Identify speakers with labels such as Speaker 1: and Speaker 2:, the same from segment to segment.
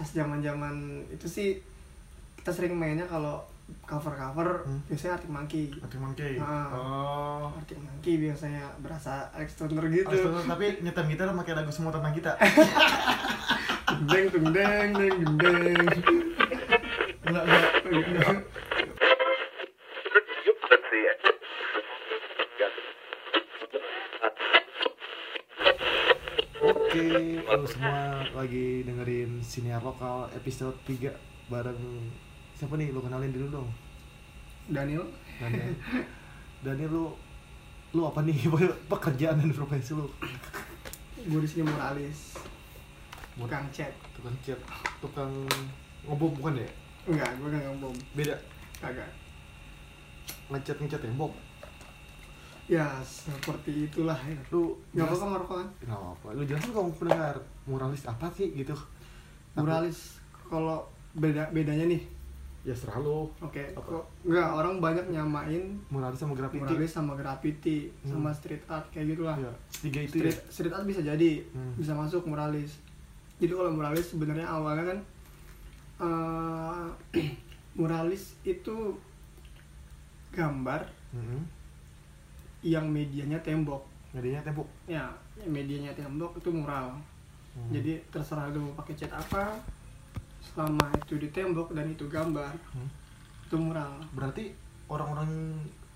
Speaker 1: zaman-zaman itu sih kita sering mainnya kalau cover-cover
Speaker 2: Hmm.
Speaker 1: biasanya Arctic Monkey.
Speaker 2: Arctic Monkey.
Speaker 1: Ah.
Speaker 2: Oh.
Speaker 1: Arctic Monkey biasanya berasa Alex Turner gitu.
Speaker 2: Abis itu, tapi nyetem gitar pakai lagu semua tentang kita.
Speaker 1: Deng deng deng deng deng.
Speaker 2: Enggak, enggak. Oke, lu semua lagi dengerin siniar lokal episode 3 bareng siapa nih? Lu kenalin dulu dong.
Speaker 1: Daniel
Speaker 2: Daniel. Daniel lu lu apa nih pekerjaan dan profesi lu?
Speaker 1: gue di sini moralis bukan chat
Speaker 2: tukang cat, tukang ngebom bukan ya?
Speaker 1: enggak gue gak ngebom
Speaker 2: Beda
Speaker 1: kagak
Speaker 2: ngecat ngecat tembok.
Speaker 1: ya seperti itulah ya
Speaker 2: Lu
Speaker 1: nggak
Speaker 2: jelas-
Speaker 1: apa-apa ngerokok kan
Speaker 2: Nggak apa-apa. Lu jelasin kamu pendengar muralis apa sih gitu?
Speaker 1: moralis kalau beda bedanya nih
Speaker 2: Ya serah lu.
Speaker 1: oke
Speaker 2: Apa?
Speaker 1: kok enggak orang banyak nyamain
Speaker 2: Muralis sama graffiti.
Speaker 1: moralis sama graffiti
Speaker 2: Hmm.
Speaker 1: sama street art kayak gitulah
Speaker 2: Ya, tiga itu ya.
Speaker 1: street, street art bisa jadi
Speaker 2: Hmm.
Speaker 1: bisa masuk muralis jadi kalau muralis sebenarnya awalnya kan eh, muralis itu gambar
Speaker 2: Heeh.
Speaker 1: yang medianya tembok
Speaker 2: Medianya tembok.
Speaker 1: ya medianya tembok itu mural
Speaker 2: Hmm.
Speaker 1: jadi terserah lu mau pakai cat apa selama itu di tembok dan itu gambar
Speaker 2: Hmm.
Speaker 1: itu mural
Speaker 2: berarti orang-orang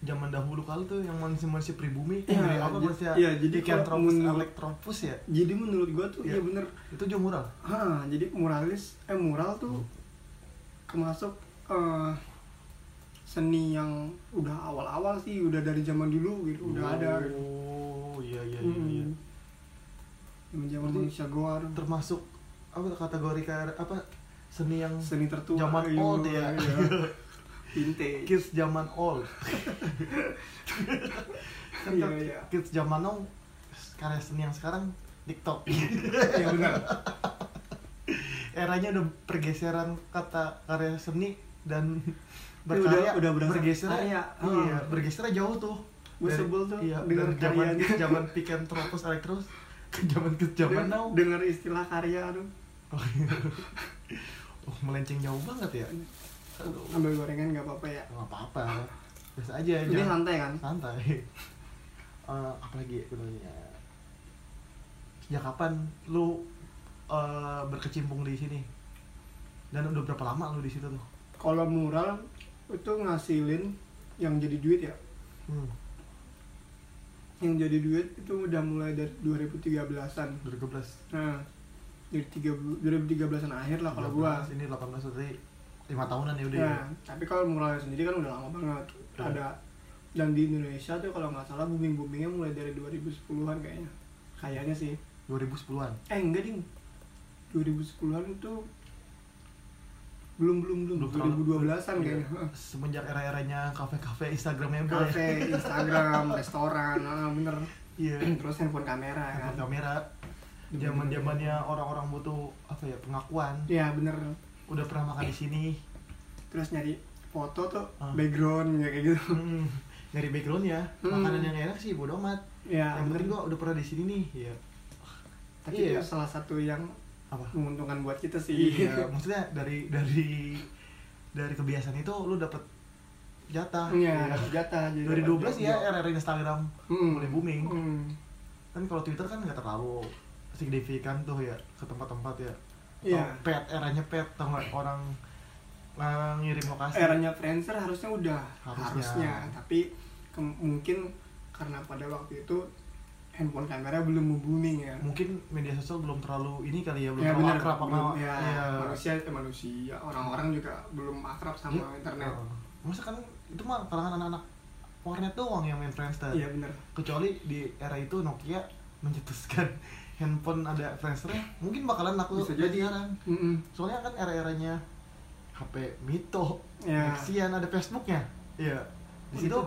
Speaker 2: zaman dahulu kali tuh yang manusia-manusia pribumi
Speaker 1: Iya,
Speaker 2: dari apa
Speaker 1: ja-
Speaker 2: manusia
Speaker 1: iya, jadi
Speaker 2: Lycanthropus,
Speaker 1: kalau menurut-
Speaker 2: Electropus ya
Speaker 1: jadi menurut gua tuh ya
Speaker 2: Iya.
Speaker 1: bener
Speaker 2: itu juga murah
Speaker 1: ha, jadi muralis eh mural tuh kemasuk eh, seni yang udah awal-awal sih udah dari zaman dulu gitu udah ada
Speaker 2: iya,
Speaker 1: gitu.
Speaker 2: oh iya iya iya, iya.
Speaker 1: Hmm. Zaman zaman
Speaker 2: Berarti-
Speaker 1: manusia goar
Speaker 2: termasuk apa kategori kayak apa seni yang
Speaker 1: seni tertua
Speaker 2: Zaman
Speaker 1: iya,
Speaker 2: old ya.
Speaker 1: iya. vintage
Speaker 2: kids zaman old kan
Speaker 1: Iya,
Speaker 2: kalau
Speaker 1: iya.
Speaker 2: kids zaman now karya seni yang sekarang TikTok
Speaker 1: ya benar
Speaker 2: eranya udah pergeseran kata karya seni dan
Speaker 1: Ini
Speaker 2: berkarya
Speaker 1: Iya, udah- udah berasa
Speaker 2: bergeser
Speaker 1: karya.
Speaker 2: iya
Speaker 1: Ah.
Speaker 2: bergeser jauh tuh
Speaker 1: Gua sebel tuh
Speaker 2: iya,
Speaker 1: denger gitu.
Speaker 2: dari zaman
Speaker 1: karyanya.
Speaker 2: zaman Picanthropus Electros ke zaman ke zaman
Speaker 1: Den-
Speaker 2: now
Speaker 1: dengar istilah karya aduh
Speaker 2: oh, iya. oh, melenceng jauh banget ya
Speaker 1: Iya.
Speaker 2: Aduh,
Speaker 1: ambil gorengan nggak apa-apa ya
Speaker 2: nggak apa-apa biasa aja
Speaker 1: ini
Speaker 2: jangan-
Speaker 1: santai kan
Speaker 2: santai Eh, apalagi ya sebenarnya sejak kapan lu eh, berkecimpung di sini dan udah berapa lama lu di situ tuh
Speaker 1: kalau mural itu ngasilin yang jadi duit ya
Speaker 2: hmm,
Speaker 1: yang jadi duit itu udah mulai dari 2013an
Speaker 2: 2012
Speaker 1: nah dari tiga, 2013an akhir lah kalau gua
Speaker 2: 18, ini 18 berarti 5 tahunan ya udah
Speaker 1: nah tapi kalau muralnya sendiri kan udah lama banget
Speaker 2: Udah.
Speaker 1: ada dan di Indonesia tuh kalau nggak salah booming boomingnya mulai dari 2010an kayaknya kayaknya sih
Speaker 2: 2010-an
Speaker 1: eh enggak ding 2010an itu belum belum belum,
Speaker 2: Belum terlalu-
Speaker 1: 2012an
Speaker 2: Iya.
Speaker 1: kayaknya
Speaker 2: semenjak era-eranya kafe-kafe Instagramnya ya
Speaker 1: kafe, Instagram, restoran, ah, bener.
Speaker 2: iya
Speaker 1: Terus handphone kamera kan.
Speaker 2: handphone kamera zaman zamannya orang-orang butuh apa ya pengakuan
Speaker 1: Iya bener.
Speaker 2: udah pernah makan di sini
Speaker 1: Terus nyari foto tuh
Speaker 2: Ah.
Speaker 1: background ya, kayak gitu.
Speaker 2: hmm, nyari backgroundnya
Speaker 1: Hmm.
Speaker 2: makanan yang enak sih bodo amat
Speaker 1: Iya.
Speaker 2: yang
Speaker 1: bener.
Speaker 2: penting gua udah pernah di sini nih ya
Speaker 1: Tapi
Speaker 2: iya.
Speaker 1: itu salah satu yang
Speaker 2: apa
Speaker 1: menguntungkan buat kita sih.
Speaker 2: iya maksudnya dari dari dari kebiasaan itu lu dapet jatah
Speaker 1: Iya, jatah jadi
Speaker 2: dari
Speaker 1: dapat
Speaker 2: 12
Speaker 1: job.
Speaker 2: ya era Instagram
Speaker 1: Hmm.
Speaker 2: mulai booming
Speaker 1: Hmm.
Speaker 2: kan kalau Twitter kan nggak terlalu signifikan tuh ya ke tempat-tempat ya
Speaker 1: Iya.
Speaker 2: Tau pet eranya pet tau nggak orang eh, ngirim lokasi
Speaker 1: Eranya Friendster harusnya udah
Speaker 2: Harusnya.
Speaker 1: tapi ke- mungkin karena pada waktu itu handphone kamera belum booming ya.
Speaker 2: mungkin media sosial belum terlalu ini kali ya belum
Speaker 1: ya
Speaker 2: terlalu
Speaker 1: benar
Speaker 2: akrab sama
Speaker 1: belum, ya,
Speaker 2: iya.
Speaker 1: manusia eh, manusia orang-orang juga belum akrab sama
Speaker 2: Iya.
Speaker 1: internet
Speaker 2: Heeh. masa kan itu mah kalangan anak-anak warnet doang yang main Friendster
Speaker 1: iya benar
Speaker 2: kecuali di era itu Nokia mencetuskan handphone ada Friendster mungkin bakalan laku
Speaker 1: Bisa jadi.
Speaker 2: sekarang
Speaker 1: Hmm,
Speaker 2: soalnya kan era-eranya HP Mito
Speaker 1: Ya.
Speaker 2: Nexian ada Facebooknya iya di situ
Speaker 1: Gitu.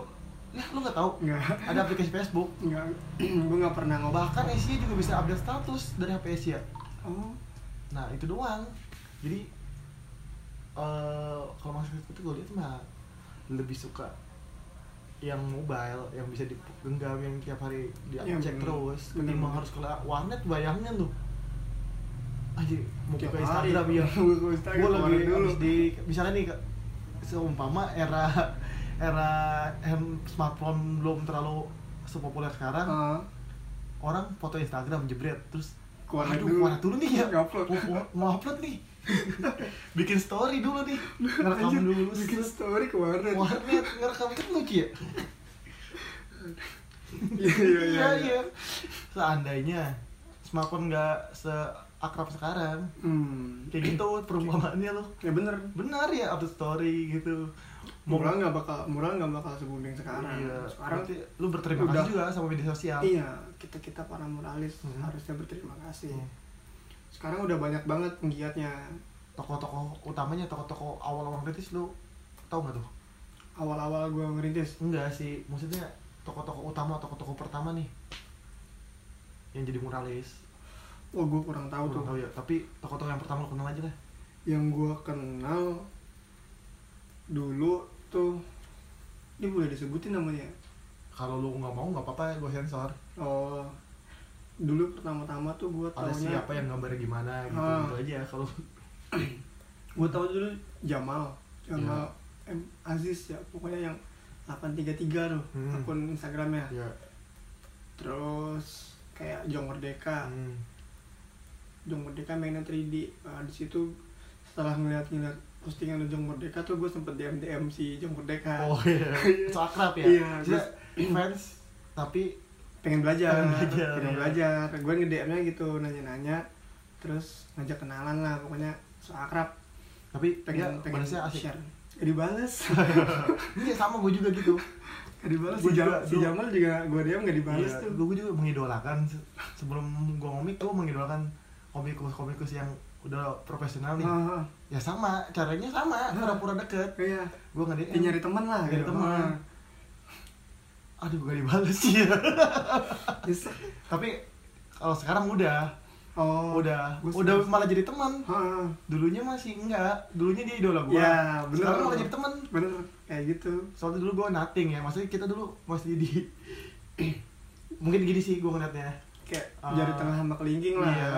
Speaker 2: ya lu nggak tahu
Speaker 1: nggak
Speaker 2: ada aplikasi Facebook
Speaker 1: nggak gue nggak pernah ngobah
Speaker 2: bahkan Asia juga bisa update status dari HP Asia
Speaker 1: oh
Speaker 2: nah itu doang jadi eh kalau masih itu gue lihat mah lebih suka yang mobile yang bisa digenggam yang tiap hari dia
Speaker 1: Iya,
Speaker 2: cek
Speaker 1: bener.
Speaker 2: terus
Speaker 1: Bener,
Speaker 2: ketimbang
Speaker 1: bener.
Speaker 2: harus ke warnet bayangin tuh aja mau
Speaker 1: Tiap
Speaker 2: buka
Speaker 1: hari.
Speaker 2: Instagram ya
Speaker 1: Mau buka Instagram,
Speaker 2: gue lagi
Speaker 1: kemarin dulu.
Speaker 2: habis di misalnya nih Kak, seumpama era era hand smartphone belum terlalu sepopuler sekarang
Speaker 1: Ah,
Speaker 2: orang foto Instagram jebret terus
Speaker 1: Ke warnet
Speaker 2: aduh,
Speaker 1: dulu.
Speaker 2: ke warnet dulu nih ya
Speaker 1: Nge-upload.
Speaker 2: mau, mau- mau upload nih bikin story dulu nih ngerekam
Speaker 1: anjir,
Speaker 2: dulu
Speaker 1: bikin
Speaker 2: terus
Speaker 1: story ke warnet
Speaker 2: warnet ngerekam kan lucu ya
Speaker 1: iya iya iya iya
Speaker 2: seandainya smartphone nggak seakrab sekarang
Speaker 1: hmm
Speaker 2: kayak gitu perumpamaannya loh
Speaker 1: ya bener
Speaker 2: benar ya upload story gitu
Speaker 1: mural nggak bakal mural nggak bakal sebuming sekarang
Speaker 2: iya,
Speaker 1: sekarang
Speaker 2: berarti lu berterima
Speaker 1: udah.
Speaker 2: kasih juga sama media sosial
Speaker 1: iya kita kita para muralis
Speaker 2: Hmm.
Speaker 1: harusnya berterima kasih
Speaker 2: Hmm.
Speaker 1: sekarang udah banyak banget penggiatnya
Speaker 2: toko-toko utamanya toko-toko awal-awal kritis lu tau nggak tuh
Speaker 1: awal-awal gue ngerintis
Speaker 2: enggak sih maksudnya toko-toko utama toko-toko pertama nih yang jadi muralis
Speaker 1: wah gue kurang tahu
Speaker 2: Kurang
Speaker 1: tuh
Speaker 2: tahu ya tapi toko-toko yang pertama lu kenal aja lah
Speaker 1: yang gue kenal dulu tuh ini boleh disebutin namanya
Speaker 2: kalau lu nggak mau nggak apa-apa gue sensor
Speaker 1: oh dulu pertama-tama tuh gue
Speaker 2: ada
Speaker 1: taunya
Speaker 2: siapa yang gambarnya gimana gitu
Speaker 1: Ah.
Speaker 2: gitu aja kalau
Speaker 1: gue tau dulu Jamal Jamal
Speaker 2: Ya.
Speaker 1: M Aziz ya pokoknya yang 833 tuh
Speaker 2: Hmm.
Speaker 1: akun Instagramnya
Speaker 2: ya
Speaker 1: terus kayak Jong Merdeka
Speaker 2: hmm.
Speaker 1: Jong Merdeka mainnya 3D nah, di situ setelah ngeliat-ngeliat postingan Jong Merdeka tuh gue sempet DM DM si Jong Merdeka
Speaker 2: oh iya so akrab ya
Speaker 1: Ah. Iya,
Speaker 2: Maksudnya fans tapi
Speaker 1: pengen belajar
Speaker 2: Pengen belajar,
Speaker 1: pengen
Speaker 2: iya.
Speaker 1: belajar gue nge DM nya gitu nanya-nanya terus ngajak kenalan lah pokoknya so akrab
Speaker 2: tapi
Speaker 1: pengen
Speaker 2: pengen,
Speaker 1: pengen
Speaker 2: Ya, balasnya asik
Speaker 1: share Gak dibales
Speaker 2: iya sama gue juga gitu
Speaker 1: Gak dibales si,
Speaker 2: Gua juga
Speaker 1: Jamal, si
Speaker 2: dulu.
Speaker 1: Jamal juga gue DM gak dibales
Speaker 2: Iya,
Speaker 1: tuh
Speaker 2: gue juga mengidolakan se- sebelum gue ngomik gue mengidolakan komikus-komikus yang udah profesional nih
Speaker 1: Ah, ah,
Speaker 2: ya sama caranya sama pura-pura deket
Speaker 1: iya
Speaker 2: gue nggak
Speaker 1: ya, nyari teman lah
Speaker 2: Nyari
Speaker 1: gitu.
Speaker 2: teman.
Speaker 1: Ah,
Speaker 2: aduh gak dibales sih
Speaker 1: nyesek.
Speaker 2: tapi kalau sekarang udah
Speaker 1: oh
Speaker 2: udah
Speaker 1: gua
Speaker 2: udah
Speaker 1: sempet-
Speaker 2: malah jadi teman
Speaker 1: Ah, ah.
Speaker 2: dulunya masih enggak dulunya dia idola gue
Speaker 1: Ya, bener.
Speaker 2: sekarang malah jadi teman
Speaker 1: bener kayak gitu
Speaker 2: soalnya dulu gue nothing ya maksudnya kita dulu masih di mungkin gini sih gue ngeliatnya
Speaker 1: kayak
Speaker 2: Ah.
Speaker 1: jari tengah sama kelingking lah
Speaker 2: Iya.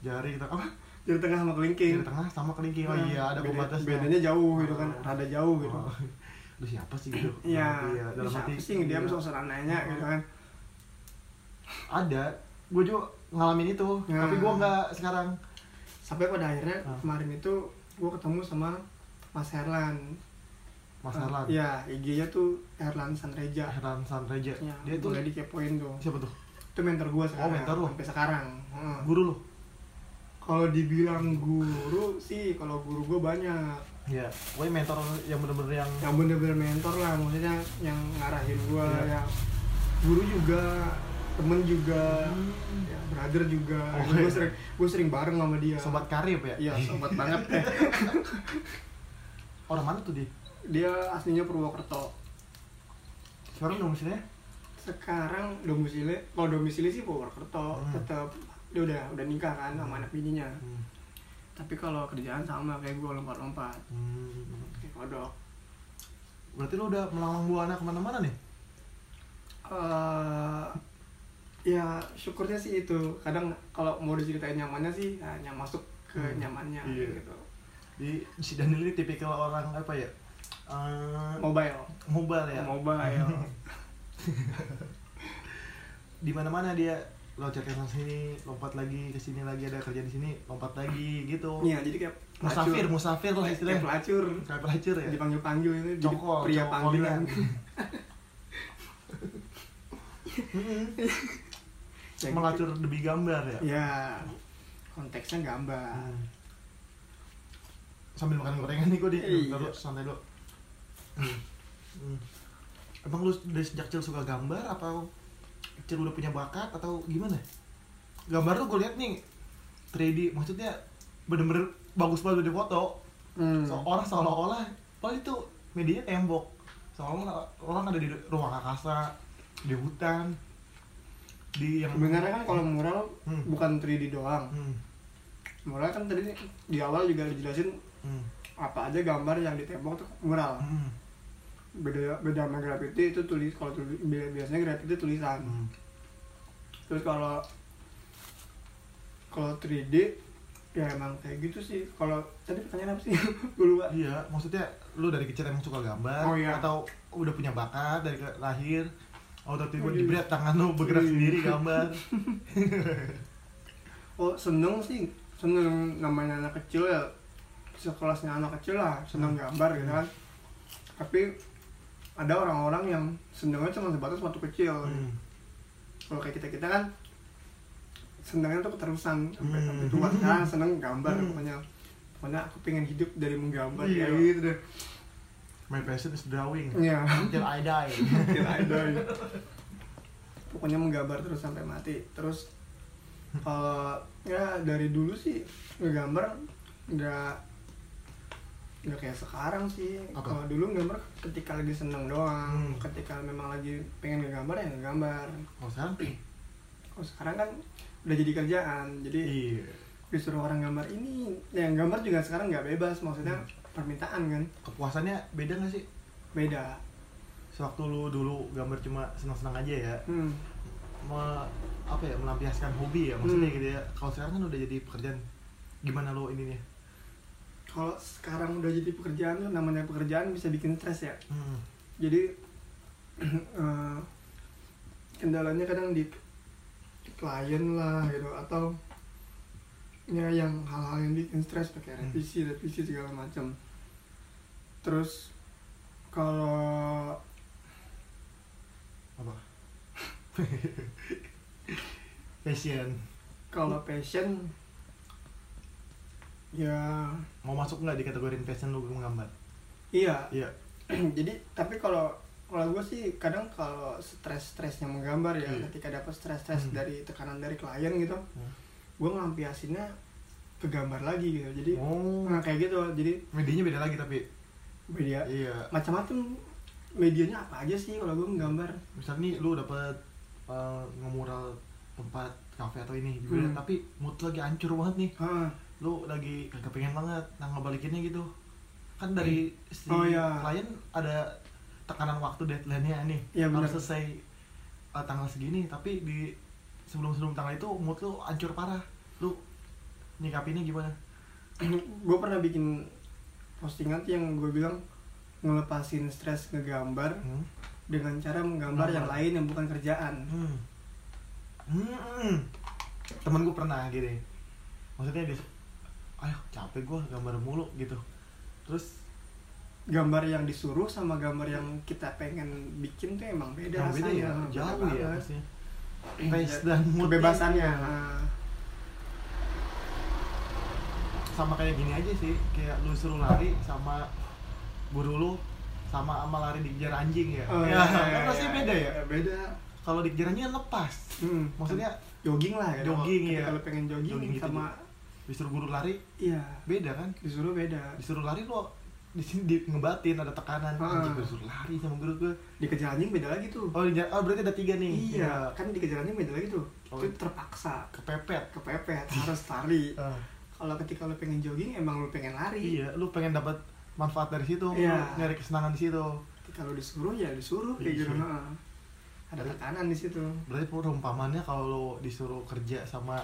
Speaker 2: jari kita apa
Speaker 1: jari tengah sama kelingking
Speaker 2: jari tengah sama kelingking oh iya ada
Speaker 1: Nah, Beda-
Speaker 2: pembatasnya
Speaker 1: bedanya jauh gitu kan
Speaker 2: Oh.
Speaker 1: rada jauh gitu
Speaker 2: Oh. lu siapa sih gitu
Speaker 1: Iya, ya,
Speaker 2: Iya, dalam
Speaker 1: siapa
Speaker 2: hati
Speaker 1: sih yang diam
Speaker 2: iya.
Speaker 1: soal nanya gitu kan
Speaker 2: ada gue juga ngalamin itu
Speaker 1: Ya.
Speaker 2: tapi gue nggak sekarang
Speaker 1: Sampai pada akhirnya
Speaker 2: Ah.
Speaker 1: kemarin itu gue ketemu sama Mas Herlan
Speaker 2: mas
Speaker 1: Ah,
Speaker 2: Herlan
Speaker 1: Iya, IG-nya tuh Herlan Sanreja
Speaker 2: Herlan Sanreja
Speaker 1: Ya,
Speaker 2: dia tuh
Speaker 1: boleh dikepoin tuh
Speaker 2: siapa tuh
Speaker 1: Itu mentor gue sekarang
Speaker 2: Oh, mentor lu.
Speaker 1: Sampai sekarang Heeh.
Speaker 2: guru lo
Speaker 1: Kalau dibilang guru sih, kalau guru gue banyak
Speaker 2: ya gue mentor yang bener-bener yang
Speaker 1: yang bener-bener mentor lah maksudnya yang ngarahin gua ya
Speaker 2: Iya.
Speaker 1: guru juga temen juga
Speaker 2: Hmm.
Speaker 1: ya brother juga
Speaker 2: Oh,
Speaker 1: Gua
Speaker 2: iya.
Speaker 1: sering gue sering bareng sama dia
Speaker 2: sobat karib ya
Speaker 1: iya sobat banget deh.
Speaker 2: orang mana tuh dia
Speaker 1: dia aslinya Purwokerto
Speaker 2: sekarang dong maksudnya
Speaker 1: sekarang domisili kalau domisili sih Purwokerto
Speaker 2: Hmm.
Speaker 1: tetap dia udah udah nikah kan sama anak bininya
Speaker 2: hmm.
Speaker 1: tapi kalau kerjaan sama kayak gua lompat-lompat
Speaker 2: Hmm.
Speaker 1: kayak kodok
Speaker 2: berarti lu udah melanglang buana kemana-mana nih
Speaker 1: eh ya syukurnya sih itu kadang kalau mau diceritain nyamannya sih hanya masuk ke
Speaker 2: Hmm,
Speaker 1: nyamannya
Speaker 2: iya.
Speaker 1: gitu
Speaker 2: di si Daniel ini tipikal orang apa ya Eh,
Speaker 1: mobile
Speaker 2: mobile ya
Speaker 1: mobile
Speaker 2: di mana mana dia loncat ke sini lompat lagi ke sini lagi ada kerja di sini lompat lagi gitu
Speaker 1: iya jadi kayak
Speaker 2: musafir
Speaker 1: pelacur.
Speaker 2: musafir lah
Speaker 1: kayak
Speaker 2: istilahnya
Speaker 1: pelacur
Speaker 2: kayak pelacur ya
Speaker 1: dipanggil panggil itu jadi
Speaker 2: Cokol,
Speaker 1: pria
Speaker 2: cokol
Speaker 1: panggilan
Speaker 2: dia. Mm-mm.
Speaker 1: Ya, gitu.
Speaker 2: melacur demi gambar ya
Speaker 1: ya konteksnya gambar
Speaker 2: Hmm. sambil makan gorengan nih gue di
Speaker 1: Iya.
Speaker 2: taruh, santai dulu Hmm. Hmm. emang lu dari sejak kecil suka gambar atau kecil udah punya bakat atau gimana gambar lu gue lihat nih 3D maksudnya bener-bener bagus banget di foto
Speaker 1: Hmm.
Speaker 2: So- oh. orang seolah-olah padahal itu medianya tembok seolah-olah orang ada di ruang angkasa di hutan di yang
Speaker 1: sebenarnya kan kalau mural
Speaker 2: Hmm.
Speaker 1: bukan 3D doang
Speaker 2: Hmm,
Speaker 1: mural kan tadi di awal juga dijelasin
Speaker 2: hmm,
Speaker 1: apa aja gambar yang di tembok tuh mural
Speaker 2: hmm,
Speaker 1: beda beda sama graffiti itu tulis kalau tulis bi- biasanya graffiti tulisan
Speaker 2: hmm.
Speaker 1: terus kalau kalau 3D ya emang kayak gitu sih kalau tadi pertanyaan apa sih gue lupa
Speaker 2: Iya, maksudnya lu dari kecil emang suka gambar
Speaker 1: Oh, iya.
Speaker 2: atau udah punya bakat dari ke- lahir atau tiba-tiba
Speaker 1: Waduh.
Speaker 2: jebret tangan lu bergerak
Speaker 1: Wih.
Speaker 2: sendiri gambar.
Speaker 1: oh seneng sih seneng namanya anak kecil ya sekelasnya anak kecil lah seneng
Speaker 2: Hmm.
Speaker 1: gambar gitu kan tapi ada orang-orang yang senengnya cuma sebatas waktu kecil
Speaker 2: Hmm.
Speaker 1: kalau kayak kita kita kan senengnya tuh keterusan sampai
Speaker 2: Hmm.
Speaker 1: sampai tua kan seneng gambar
Speaker 2: Hmm.
Speaker 1: pokoknya pokoknya aku pengen hidup dari menggambar
Speaker 2: Iya.
Speaker 1: kayak gitu deh
Speaker 2: My passion is drawing.
Speaker 1: Iya.
Speaker 2: Until I die.
Speaker 1: Bikin
Speaker 2: iya.
Speaker 1: idol. pokoknya menggambar terus sampai mati terus eh, ya dari dulu sih ngegambar nggak nggak kayak sekarang sih
Speaker 2: Apa?
Speaker 1: kalau dulu gambar ketika lagi seneng doang
Speaker 2: Hmm.
Speaker 1: ketika memang lagi pengen ngegambar ya ngegambar
Speaker 2: Kalau Oh, sekarang
Speaker 1: kalau sekarang kan udah jadi kerjaan jadi
Speaker 2: iya.
Speaker 1: disuruh orang gambar ini yang gambar juga sekarang nggak bebas maksudnya permintaan kan
Speaker 2: Kepuasannya beda gak sih?
Speaker 1: beda
Speaker 2: Sewaktu lu dulu gambar cuma senang-senang aja ya.
Speaker 1: hmm.
Speaker 2: Me, apa ya melampiaskan hobi ya maksudnya
Speaker 1: Hmm.
Speaker 2: gitu ya. Kalau sekarang kan udah jadi pekerjaan. Gimana lu ininya?
Speaker 1: kalau sekarang udah jadi pekerjaan tuh namanya pekerjaan bisa bikin stres ya
Speaker 2: Hmm.
Speaker 1: jadi eh, kendalanya kadang di klien lah gitu atau ya yang hal-hal yang bikin stres pakai
Speaker 2: Hmm.
Speaker 1: revisi revisi segala macam terus kalau
Speaker 2: Apa? passion.
Speaker 1: kalau passion ya
Speaker 2: Mau masuk nggak di kategori passion lu menggambar?
Speaker 1: iya
Speaker 2: Iya.
Speaker 1: jadi tapi kalau kalau gue sih kadang kalau stres-stresnya menggambar ya
Speaker 2: Iya.
Speaker 1: ketika dapat stres-stres
Speaker 2: Hmm.
Speaker 1: dari tekanan dari klien gitu
Speaker 2: Hmm.
Speaker 1: gue ngelampiasinnya ke gambar lagi gitu jadi
Speaker 2: Oh.
Speaker 1: nah, kayak gitu jadi
Speaker 2: Medianya beda lagi tapi.
Speaker 1: media
Speaker 2: Iya.
Speaker 1: macam-macam medianya apa aja sih kalau gue menggambar
Speaker 2: Misalnya nih lu dapet uh, ngemural tempat kafe atau ini juga
Speaker 1: Hmm.
Speaker 2: tapi mood lu lagi hancur banget nih
Speaker 1: Hah,
Speaker 2: lu lagi kagak pengen banget nah ngebalikinnya gitu kan dari si
Speaker 1: Oh, iya.
Speaker 2: klien ada tekanan waktu deadline-nya nih
Speaker 1: Iya, benar.
Speaker 2: harus selesai uh, tanggal segini tapi di sebelum sebelum tanggal itu mood lu hancur parah lu nyikapinnya gimana
Speaker 1: gue pernah bikin postingan tuh yang gue bilang ngelepasin stres ngegambar
Speaker 2: hmm.
Speaker 1: dengan cara menggambar yang
Speaker 2: Gambar.
Speaker 1: lain yang bukan kerjaan
Speaker 2: Hmm. Hmm, Hmm. Temen gue pernah gini. Maksudnya dia ayo capek gue gambar mulu gitu. Terus
Speaker 1: gambar yang disuruh sama gambar yang kita pengen bikin tuh emang beda
Speaker 2: yang beda
Speaker 1: rasanya
Speaker 2: ya
Speaker 1: beda
Speaker 2: jauh ya
Speaker 1: banget.
Speaker 2: maksudnya.
Speaker 1: Iya,
Speaker 2: Pace dan Ya, mood
Speaker 1: kebebasannya nah,
Speaker 2: sama kayak gini aja sih, kayak lu suruh lari sama guru lu sama sama lari dikejar anjing ya.
Speaker 1: oh,
Speaker 2: ya,
Speaker 1: iya, iya,
Speaker 2: kan
Speaker 1: iya,
Speaker 2: pasti beda ya.
Speaker 1: iya, beda
Speaker 2: Kalau dikejar anjing lepas.
Speaker 1: hmm.
Speaker 2: Maksudnya
Speaker 1: jogging lah ya
Speaker 2: Jogging,
Speaker 1: kalau-
Speaker 2: iya.
Speaker 1: kalau pengen jogging,
Speaker 2: Jogging gitu
Speaker 1: sama
Speaker 2: disuruh guru lari
Speaker 1: iya
Speaker 2: beda kan?
Speaker 1: disuruh beda
Speaker 2: Disuruh lari lu di sini di- ngebatin ada tekanan
Speaker 1: Ah.
Speaker 2: anjing gua disuruh lari sama guru gue
Speaker 1: dikejar anjing beda lagi tuh
Speaker 2: Oh, di- oh berarti ada tiga nih.
Speaker 1: iya kan dikejar anjing beda lagi tuh
Speaker 2: Oh.
Speaker 1: itu terpaksa
Speaker 2: Kepepet.
Speaker 1: kepepet harus lari
Speaker 2: Ah,
Speaker 1: kalau ketika lo pengen jogging emang lo pengen lari
Speaker 2: iya, lu pengen dapat manfaat dari situ, lu
Speaker 1: Iya.
Speaker 2: nyari kesenangan di situ.
Speaker 1: ketika lo disuruh ya disuruh kayak
Speaker 2: Iya.
Speaker 1: gitu nah. ada tekanan di situ
Speaker 2: Berarti perumpamannya kalau lu disuruh kerja sama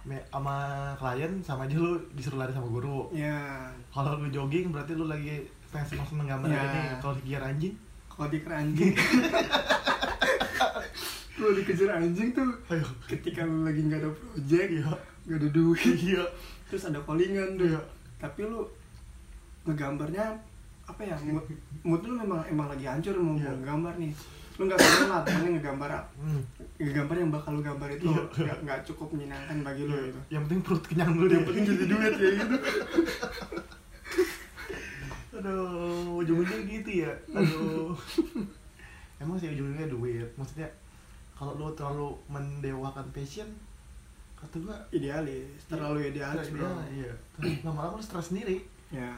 Speaker 2: me- sama klien sama aja lu disuruh lari sama guru.
Speaker 1: ya
Speaker 2: Kalau lu jogging berarti lu lagi pengen seneng gambar
Speaker 1: Iya.
Speaker 2: aja nih. Kalau dikejar anjing,
Speaker 1: kalau dikejar anjing lo dikejar anjing tuh
Speaker 2: ayo.
Speaker 1: ketika lu lagi nggak ada project
Speaker 2: Iya.
Speaker 1: nggak ada duit
Speaker 2: Iya.
Speaker 1: terus ada callingan tuh
Speaker 2: Iya.
Speaker 1: tapi lu ngegambarnya apa ya mood, mood lu memang emang lagi hancur mau
Speaker 2: Iya.
Speaker 1: mau gambar nih lu nggak seneng lah pengen ngegambar
Speaker 2: Hmm.
Speaker 1: ngegambar yang bakal lu gambar itu
Speaker 2: Iya.
Speaker 1: nggak nggak cukup menyenangkan bagi lu gitu
Speaker 2: Yang penting perut kenyang dulu
Speaker 1: yang penting jadi duit ya gitu
Speaker 2: Aduh, ujung-ujungnya gitu ya. Aduh. Emang sih ujung-ujungnya duit. Maksudnya kalau lu terlalu mendewakan passion, kata gua
Speaker 1: idealis terlalu idealis bro
Speaker 2: ideal, iya. Terus Lama-lama lu stres sendiri.
Speaker 1: ya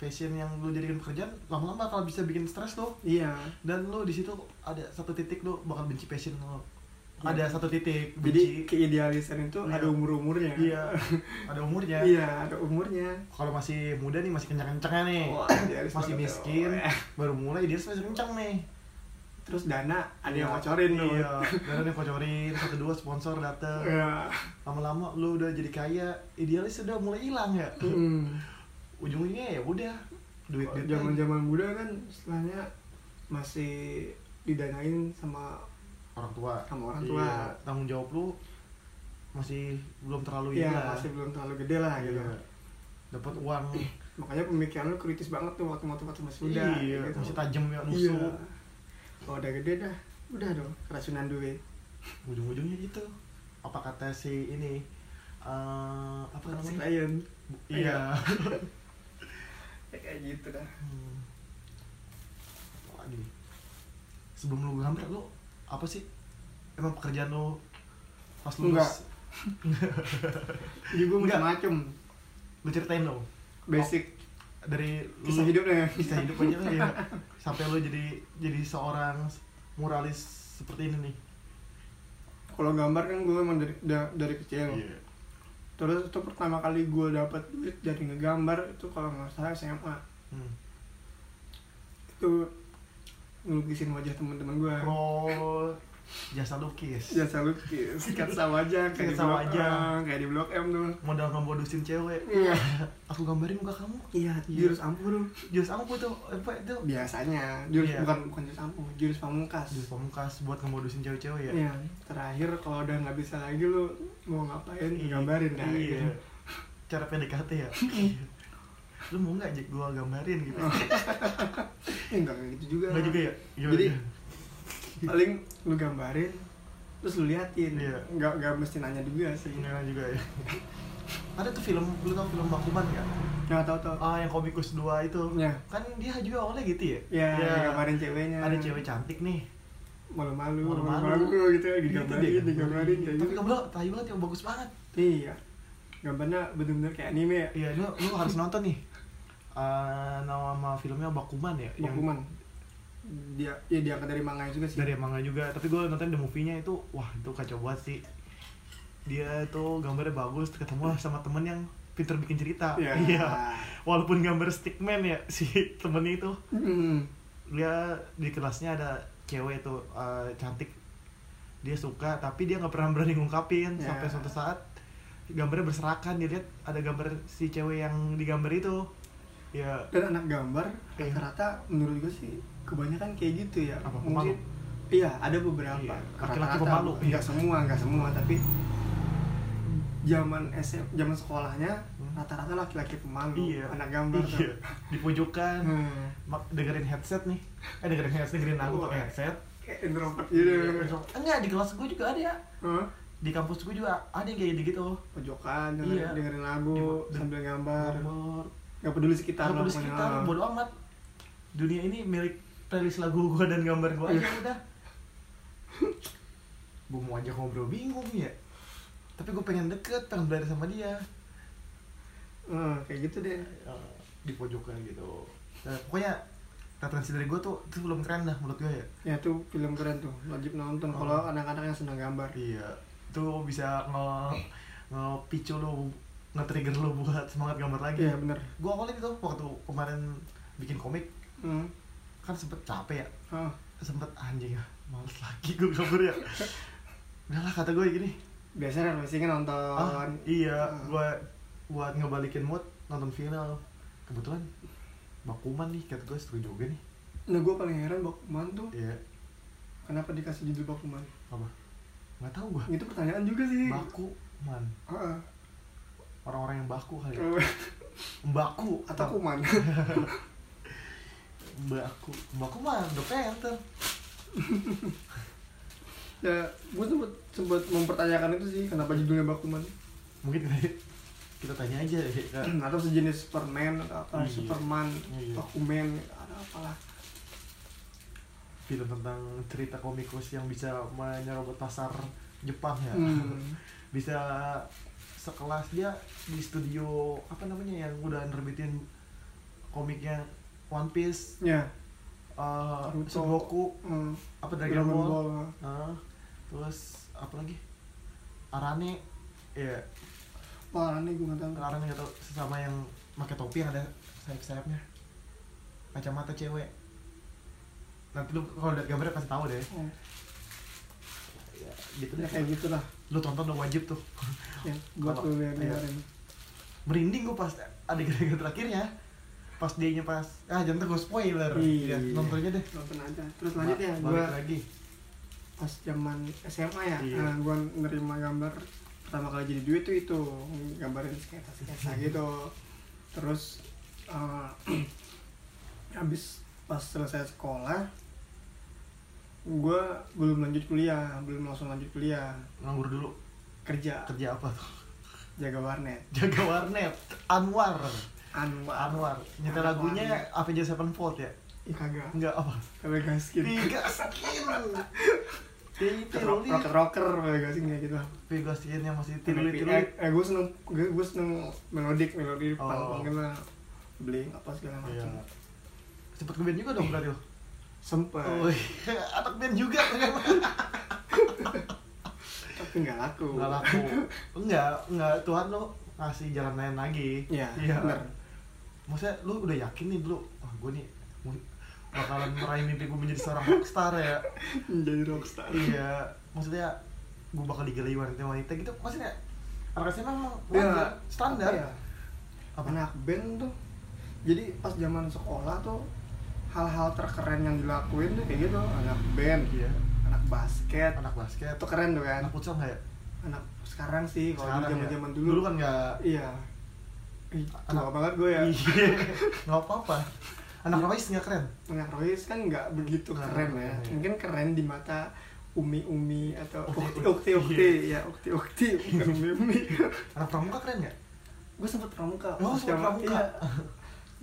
Speaker 2: Passion yang lu jadikan pekerjaan lama-lama bakal bisa bikin stres lo.
Speaker 1: iya
Speaker 2: Dan lu di situ ada satu titik lu bakal benci passion lo. Ada
Speaker 1: Iya.
Speaker 2: satu titik
Speaker 1: jadi
Speaker 2: benci.
Speaker 1: keidealisan itu
Speaker 2: Iya.
Speaker 1: ada umur umurnya
Speaker 2: iya. Ada umurnya.
Speaker 1: iya ada umurnya
Speaker 2: Kalau masih muda nih Eh, masih kencang-kencangnya nih.
Speaker 1: Wah, idealis
Speaker 2: masih
Speaker 1: banget ya,
Speaker 2: miskin,
Speaker 1: wah.
Speaker 2: baru mulai dia masih kencang nih.
Speaker 1: itu terus dana ada yang bocorin tuh
Speaker 2: iya dan ada yang bocorin satu dua sponsor dateng
Speaker 1: Iya.
Speaker 2: lama-lama lu udah jadi kaya idealis udah mulai hilang ya
Speaker 1: Mm.
Speaker 2: ujung-ujungnya ya udah duit duit
Speaker 1: zaman zaman muda kan istilahnya masih didanain sama
Speaker 2: orang tua
Speaker 1: Sama orang tua.
Speaker 2: Iya, tanggung jawab lu masih belum terlalu
Speaker 1: ya
Speaker 2: ini lah.
Speaker 1: masih belum terlalu gede lah gitu
Speaker 2: Oh, Iya. dapat uang
Speaker 1: makanya pemikiran lu kritis banget tuh waktu waktu waktu masih muda
Speaker 2: iya,
Speaker 1: gitu.
Speaker 2: masih tajam ya
Speaker 1: iya
Speaker 2: musuh
Speaker 1: kalau udah gede dah udah dong keracunan duit
Speaker 2: ujung-ujungnya gitu apa kata si ini eh apa
Speaker 1: si
Speaker 2: namanya
Speaker 1: klien
Speaker 2: iya
Speaker 1: Ya, kayak gitu dah
Speaker 2: Hmm. Apa lagi nih? sebelum lu gambar lu apa sih emang pekerjaan lu pas lu
Speaker 1: Enggak. jadi gue
Speaker 2: Enggak.
Speaker 1: macam-macam
Speaker 2: lu ceritain dong
Speaker 1: basic
Speaker 2: dari
Speaker 1: kisah hidup deh
Speaker 2: kisah hidup aja lah ya sampai lu jadi jadi seorang muralis seperti ini nih
Speaker 1: kalau gambar kan gue emang dari da- dari kecil
Speaker 2: Iya.
Speaker 1: terus itu pertama kali gue dapat duit dari ngegambar itu kalau nggak salah SMA
Speaker 2: hmm.
Speaker 1: itu ngelukisin wajah teman-teman gue
Speaker 2: pro jasa lukis
Speaker 1: jasa lukis sketsa wajah kayak di
Speaker 2: Sketsa
Speaker 1: blok
Speaker 2: wajah.
Speaker 1: M, kayak di blok M tuh
Speaker 2: modal ngebodosin cewek
Speaker 1: iya
Speaker 2: aku gambarin muka kamu
Speaker 1: iya jurus ampuh tuh
Speaker 2: jurus apa tuh apa itu
Speaker 1: biasanya jurus
Speaker 2: Iya.
Speaker 1: bukan bukan jurus ampuh jurus pamungkas
Speaker 2: jurus pamungkas buat ngebodosin cewek-cewek ya
Speaker 1: Iya, terakhir kalau udah nggak bisa lagi lu mau ngapain iya, gambarin dah
Speaker 2: iya.
Speaker 1: gitu.
Speaker 2: cara PDKT ya lu mau nggak Jack, gua gambarin gitu
Speaker 1: Oh. Ya, nggak kayak gitu juga.
Speaker 2: nggak juga ya Gimana
Speaker 1: Jadi-
Speaker 2: dia?
Speaker 1: Paling lu gambarin terus lu liatin.
Speaker 2: Iya.
Speaker 1: Nggak nggak mesti nanya juga sih.
Speaker 2: Nggak juga ya ada tuh film lu tau film Bakuman nggak
Speaker 1: Nggak tahu tahu.
Speaker 2: ah yang komikus dua itu
Speaker 1: Ya.
Speaker 2: kan dia juga awalnya gitu ya
Speaker 1: Ya, gambarin ceweknya.
Speaker 2: ada cewek cantik nih
Speaker 1: malu-malu,
Speaker 2: Malu-malu.
Speaker 1: malu-malu gitu ya
Speaker 2: dia kan.
Speaker 1: digambarin, digambarin kayak
Speaker 2: tapi
Speaker 1: gitu.
Speaker 2: kamu bilang tahu banget yang bagus banget
Speaker 1: Iya. Gambarnya bener-bener kayak anime ya.
Speaker 2: iya lu, lu harus nonton nih Eh, nama filmnya Bakuman ya Yang-
Speaker 1: Bakuman. Dia ya diangkat dari manga juga sih.
Speaker 2: dari manga juga tapi gue nonton the movie-nya itu wah itu kacau banget sih dia tuh gambarnya bagus ketemu lah sama temen yang pinter bikin cerita
Speaker 1: Iya.
Speaker 2: walaupun gambar stickman ya si temennya itu
Speaker 1: Mm.
Speaker 2: dia di kelasnya ada cewek tuh eh, cantik dia suka tapi dia nggak pernah berani ngungkapin
Speaker 1: Ya.
Speaker 2: sampai suatu saat gambarnya berserakan dia lihat ada gambar si cewek yang digambar itu ya
Speaker 1: dan anak gambar
Speaker 2: Iya.
Speaker 1: rata-rata menurut gue sih kebanyakan kayak gitu ya
Speaker 2: Apa,
Speaker 1: mungkin iya ada beberapa
Speaker 2: Iya, laki-laki
Speaker 1: rata-rata
Speaker 2: pemalu.
Speaker 1: nggak
Speaker 2: Iya.
Speaker 1: semua nggak semua tapi zaman SM zaman sekolahnya
Speaker 2: Hmm.
Speaker 1: rata-rata laki-laki pemalu
Speaker 2: iya
Speaker 1: anak gambar tuh.
Speaker 2: iya di pojokan
Speaker 1: Hmm.
Speaker 2: mak dengerin headset nih eh dengerin headset dengerin lagu pakai headset
Speaker 1: kayak introvert
Speaker 2: Iya,
Speaker 1: gitu
Speaker 2: enggak di kelas gue juga ada ya
Speaker 1: Hah?
Speaker 2: di kampus gue juga ada yang kayak gitu
Speaker 1: pojokan
Speaker 2: Iya.
Speaker 1: dengerin, dengerin lagu
Speaker 2: Di-
Speaker 1: sambil gambar
Speaker 2: gambar
Speaker 1: nggak peduli sekitar
Speaker 2: Gak
Speaker 1: lo
Speaker 2: peduli
Speaker 1: pokoknya.
Speaker 2: sekitar bodo amat dunia ini milik playlist lagu gue dan gambar gue aja udah gue mau aja ngobrol bingung ya tapi gue pengen deket pengen belajar sama dia
Speaker 1: Hmm, kayak gitu deh
Speaker 2: Eh, di pojokan gitu Eh, pokoknya referensi dari gue tuh itu belum keren dah menurut gue ya
Speaker 1: ya tuh film keren tuh wajib nonton
Speaker 2: Oh.
Speaker 1: kalau anak-anak yang senang gambar
Speaker 2: Iya, itu bisa nge ngepicu lu, nge-trigger lu buat semangat gambar lagi.
Speaker 1: iya bener
Speaker 2: Gua awalnya gitu waktu kemarin bikin komik
Speaker 1: hmm.
Speaker 2: kan sempet capek ya,
Speaker 1: Ah.
Speaker 2: sempet anjing ya, males lagi gua gambar ya. Udahlah kata gue gini,
Speaker 1: biasanya releasing nonton
Speaker 2: ah, iya, gua buat ngebalikin mood nonton final. Kebetulan Bakuman nih, kata gue setuju juga nih.
Speaker 1: nah gue paling heran Bakuman tuh
Speaker 2: Iya,
Speaker 1: kenapa dikasih judul Bakuman
Speaker 2: apa? Nggak tahu gua.
Speaker 1: itu pertanyaan juga sih
Speaker 2: Bakuman,
Speaker 1: Heeh.
Speaker 2: orang-orang yang baku kali ya. Baku
Speaker 1: atau kuman
Speaker 2: Mbak aku, mbak aku mah udah Panther.
Speaker 1: ya gue sempet sempet mempertanyakan itu sih kenapa judulnya Bakuman
Speaker 2: Mungkin kita, kita tanya aja ya. Kak.
Speaker 1: atau sejenis Superman atau apa
Speaker 2: Iya.
Speaker 1: Superman
Speaker 2: Iya.
Speaker 1: Bakuman ada apalah
Speaker 2: Film tentang cerita komikus yang bisa menyerobot pasar Jepang ya.
Speaker 1: hmm.
Speaker 2: Bisa sekelas dia di studio apa namanya yang udah nerbitin komiknya One Piece,
Speaker 1: ya
Speaker 2: eh
Speaker 1: Naruto.
Speaker 2: Son Goku,
Speaker 1: hmm.
Speaker 2: apa
Speaker 1: Dragon
Speaker 2: Dragon, Ball,
Speaker 1: Ball
Speaker 2: Nah, terus apa lagi? Arane, ya
Speaker 1: wah aneh gue nggak tahu
Speaker 2: Larang nggak tau gitu, sesama yang pakai topi yang ada sayap-sayapnya kacamata cewek nanti lu kalau lihat gambarnya kasih tahu deh
Speaker 1: Oh,
Speaker 2: ya, gitu
Speaker 1: ya
Speaker 2: deh
Speaker 1: kayak gitu lah
Speaker 2: lu tonton lu wajib tuh
Speaker 1: ya buat
Speaker 2: Kalau-
Speaker 1: lu yang
Speaker 2: iya.
Speaker 1: dengerin
Speaker 2: merinding gue pas adegan-adegan terakhirnya pas dia nya pas ah jangan gue spoiler
Speaker 1: Iya.
Speaker 2: ya, nontonnya deh
Speaker 1: nonton aja terus lanjutnya
Speaker 2: Ba-
Speaker 1: gua
Speaker 2: balik lagi
Speaker 1: pas zaman SMA ya
Speaker 2: Iya.
Speaker 1: nah, gua nerima gambar pertama kali jadi duit tuh itu gambarin sketsa sketsa
Speaker 2: Iya.
Speaker 1: gitu terus eh, habis pas selesai sekolah gua belum lanjut kuliah belum langsung lanjut kuliah
Speaker 2: nganggur dulu
Speaker 1: kerja
Speaker 2: kerja apa tuh
Speaker 1: jaga warnet Anu,
Speaker 2: jaga warnet Anwar
Speaker 1: Anwar
Speaker 2: Anwar nyetel lagunya Avengers Sevenfold ya
Speaker 1: Ih kagak
Speaker 2: enggak apa
Speaker 1: kagak gaskin
Speaker 2: tiga skin Tiga
Speaker 1: Rock-
Speaker 2: tirulit
Speaker 1: rocker rocker kagak gaskin kayak gitu lah
Speaker 2: Tiga skin yang masih tirulit tirulit
Speaker 1: eh, gue seneng gue, gue seneng melodik melodi
Speaker 2: Oh.
Speaker 1: punk gitu lah bling apa segala
Speaker 2: Iya.
Speaker 1: macam
Speaker 2: sempet ke band juga dong berarti lo
Speaker 1: Iya. sempet
Speaker 2: oh iya anak band juga ternyata
Speaker 1: tapi nggak laku
Speaker 2: Enggak laku. Enggak, enggak Tuhan lu ngasih jalan lain lagi.
Speaker 1: Iya, bener.
Speaker 2: Maksudnya lu udah yakin nih dulu, wah gue nih mu- bakalan meraih mimpi gue menjadi seorang rockstar ya.
Speaker 1: jadi rockstar
Speaker 2: iya, maksudnya gue bakal digelai wanita-wanita gitu. Maksudnya anak SMA memang
Speaker 1: Iya.
Speaker 2: wajar, standar.
Speaker 1: Apa ya?
Speaker 2: Apa?
Speaker 1: anak band tuh jadi pas zaman sekolah tuh hal-hal terkeren yang dilakuin tuh kayak gitu anak band
Speaker 2: Iya.
Speaker 1: anak basket
Speaker 2: Anak basket,
Speaker 1: itu keren tuh kan
Speaker 2: anak futsal nggak ya?
Speaker 1: anak sekarang sih kalau
Speaker 2: Sekarang
Speaker 1: zaman
Speaker 2: ya?
Speaker 1: zaman dulu,
Speaker 2: Dulu kan nggak
Speaker 1: iya Ih,
Speaker 2: Anak-
Speaker 1: tua banget gue ya
Speaker 2: Iya. nggak apa-apa. Anak Royce nggak keren.
Speaker 1: anak Royce kan nggak begitu
Speaker 2: Nah,
Speaker 1: keren ya
Speaker 2: iya.
Speaker 1: mungkin keren di mata umi-umi atau
Speaker 2: Ukti-ukti. Iya.
Speaker 1: ukti-ukti ya ukti-ukti bukan umi-umi
Speaker 2: Anak pramuka keren ya? nggak?
Speaker 1: gue sempet pramuka
Speaker 2: Oh, sempet pramuka.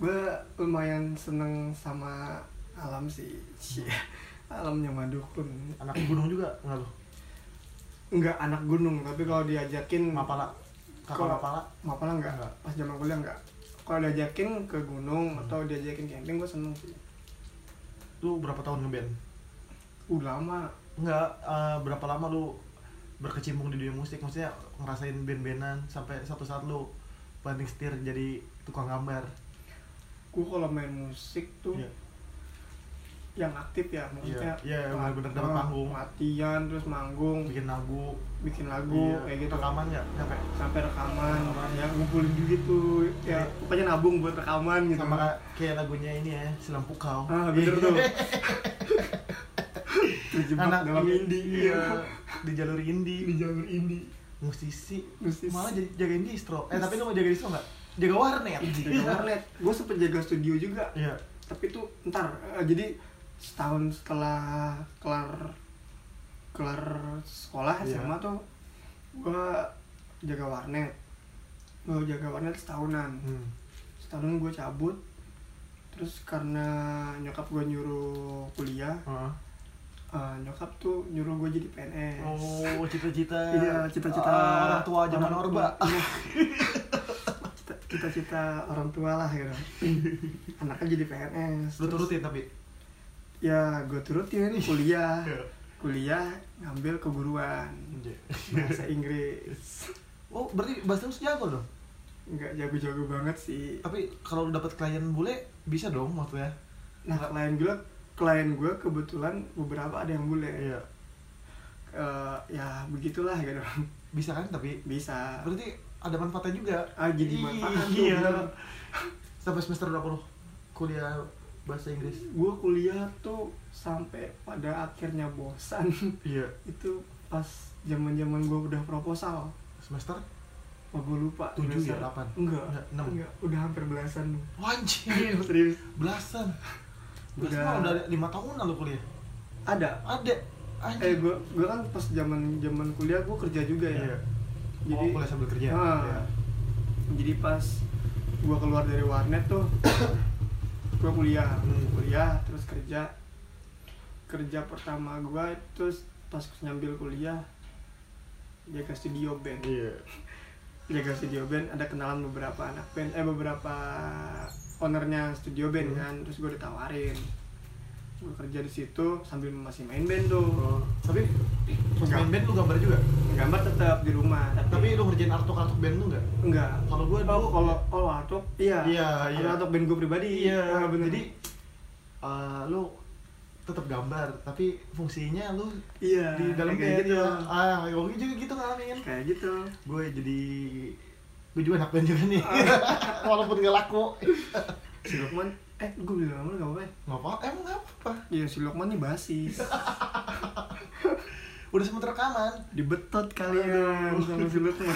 Speaker 1: gue lumayan seneng sama alam sih Cie, alamnya madukun
Speaker 2: Anak gunung juga nggak lu?
Speaker 1: nggak anak gunung tapi kalau diajakin
Speaker 2: Mapala, kakak
Speaker 1: Kalau-
Speaker 2: Mapala.
Speaker 1: Mapala nggak
Speaker 2: Nggak. Hmm.
Speaker 1: pas zaman kuliah nggak kalau diajakin ke gunung atau diajakin camping gue seneng sih
Speaker 2: lu berapa tahun ngeband?
Speaker 1: uh lama
Speaker 2: Enggak, eh, berapa lama lu berkecimpung di dunia musik? Maksudnya ngerasain band-bandan sampai satu saat lu banding setir jadi tukang gambar.
Speaker 1: gue kalau main musik tuh
Speaker 2: Iya.
Speaker 1: yang aktif ya maksudnya
Speaker 2: Iya, iya,
Speaker 1: lat-
Speaker 2: bener-bener dapat
Speaker 1: ah,
Speaker 2: panggung.
Speaker 1: latihan terus manggung
Speaker 2: Bikin lagu,
Speaker 1: bikin lagu
Speaker 2: iya,
Speaker 1: kayak gitu
Speaker 2: Rekaman nggak? Sampai
Speaker 1: sampai rekaman
Speaker 2: Rekaman.
Speaker 1: ya ngumpulin duit tuh ya
Speaker 2: Iya.
Speaker 1: pokoknya nabung buat rekaman gitu
Speaker 2: sama ka- kayak lagunya ini ya, Silam Pukau.
Speaker 1: ah bener tuh terjebak
Speaker 2: Anak
Speaker 1: dalam indie
Speaker 2: Iya, di jalur
Speaker 1: di
Speaker 2: Iya. indie.
Speaker 1: jalur indie
Speaker 2: Musisi.
Speaker 1: Musisi.
Speaker 2: Malah jadi jagain distro. Eh, tapi lu mau jagain distro nggak? Jaga warnet.
Speaker 1: Iya, jaga warnet gue sempet jaga studio juga
Speaker 2: Iya.
Speaker 1: tapi tuh ntar eh, jadi setahun setelah kelar kelar sekolah
Speaker 2: Iya.
Speaker 1: SMA tuh gua jaga warnet gua jaga warnet setahunan
Speaker 2: Hmm.
Speaker 1: setahun gue cabut terus karena nyokap gue nyuruh kuliah
Speaker 2: Heeh.
Speaker 1: eh, nyokap tuh nyuruh gue jadi PNS
Speaker 2: Oh, cita-cita.
Speaker 1: Iya, cita-cita
Speaker 2: Ah, orang tua zaman
Speaker 1: orang
Speaker 2: orba.
Speaker 1: tua. Iya. Cita- cita-cita orang tua lah gitu anaknya jadi PNS
Speaker 2: Lu turutin tapi.
Speaker 1: ya gue turutin kuliah
Speaker 2: Iya.
Speaker 1: kuliah ngambil keguruan bahasa Inggris
Speaker 2: Oh, berarti bahasa lu jago dong.
Speaker 1: nggak jago-jago banget sih
Speaker 2: Tapi kalau lu dapat klien bule bisa dong ya? maksudnya.
Speaker 1: nah klien gue klien gue kebetulan beberapa ada yang
Speaker 2: Iya.
Speaker 1: bule Eh, ya begitulah gitu
Speaker 2: Bisa kan tapi
Speaker 1: bisa
Speaker 2: berarti ada manfaatnya juga.
Speaker 1: ah jadi manfaat tuh,
Speaker 2: Iya.
Speaker 1: bener.
Speaker 2: Sampai semester berapa lu kuliah bahasa Inggris?
Speaker 1: gue kuliah tuh sampai pada akhirnya bosan
Speaker 2: Iya.
Speaker 1: itu pas zaman zaman gue udah proposal
Speaker 2: Semester?
Speaker 1: oh, gue lupa
Speaker 2: Tujuh ya,
Speaker 1: semester-
Speaker 2: delapan?
Speaker 1: enggak
Speaker 2: Enggak, enam.
Speaker 1: enggak udah hampir belasan
Speaker 2: Anjir.
Speaker 1: serius
Speaker 2: Belasan. Belasan
Speaker 1: Udah.
Speaker 2: mah udah lima tahunan lu kuliah.
Speaker 1: ada
Speaker 2: Ada.
Speaker 1: eh
Speaker 2: Anjir.
Speaker 1: gue gue kan pas zaman zaman kuliah gue kerja juga ya
Speaker 2: Iya.
Speaker 1: jadi
Speaker 2: oh, kuliah sambil kerja.
Speaker 1: Ah.
Speaker 2: Iya.
Speaker 1: jadi pas gue keluar dari warnet tuh gue kuliah
Speaker 2: Hmm.
Speaker 1: kuliah terus kerja kerja pertama gue terus pas nyambil kuliah jaga studio band
Speaker 2: Iya.
Speaker 1: jaga studio band ada kenalan beberapa anak band eh beberapa ownernya studio band
Speaker 2: Hmm.
Speaker 1: kan terus gue ditawarin gue kerja di situ sambil masih main band tuh
Speaker 2: Oh. Tapi pas
Speaker 1: Enggak. Iya.
Speaker 2: main band lu gambar juga?
Speaker 1: gambar tetap di rumah
Speaker 2: Tapi lu ngerjain artok-artok band lu nggak?
Speaker 1: enggak
Speaker 2: Kalau
Speaker 1: oh
Speaker 2: gua dulu-
Speaker 1: kalau oh atok iya
Speaker 2: Iya, iya.
Speaker 1: atok band gue pribadi
Speaker 2: Iya,
Speaker 1: Ah, bener.
Speaker 2: Jadi eh, lu tetap gambar tapi fungsinya lu
Speaker 1: iya
Speaker 2: di dalam
Speaker 1: kayak
Speaker 2: kayak
Speaker 1: gitu
Speaker 2: gitu ah Yogi juga gitu ngalamin
Speaker 1: kayak gitu
Speaker 2: gue jadi gue juga anak band juga nih walaupun gak laku
Speaker 1: si Lukman eh gue bilang sama lu gak apa-apa ya?
Speaker 2: ngapa emang nggak apa
Speaker 1: iya si Lukman nih basis
Speaker 2: udah sempet rekaman
Speaker 1: dibetot kali
Speaker 2: Iya,
Speaker 1: ya
Speaker 2: Aduh.
Speaker 1: sama si Lukman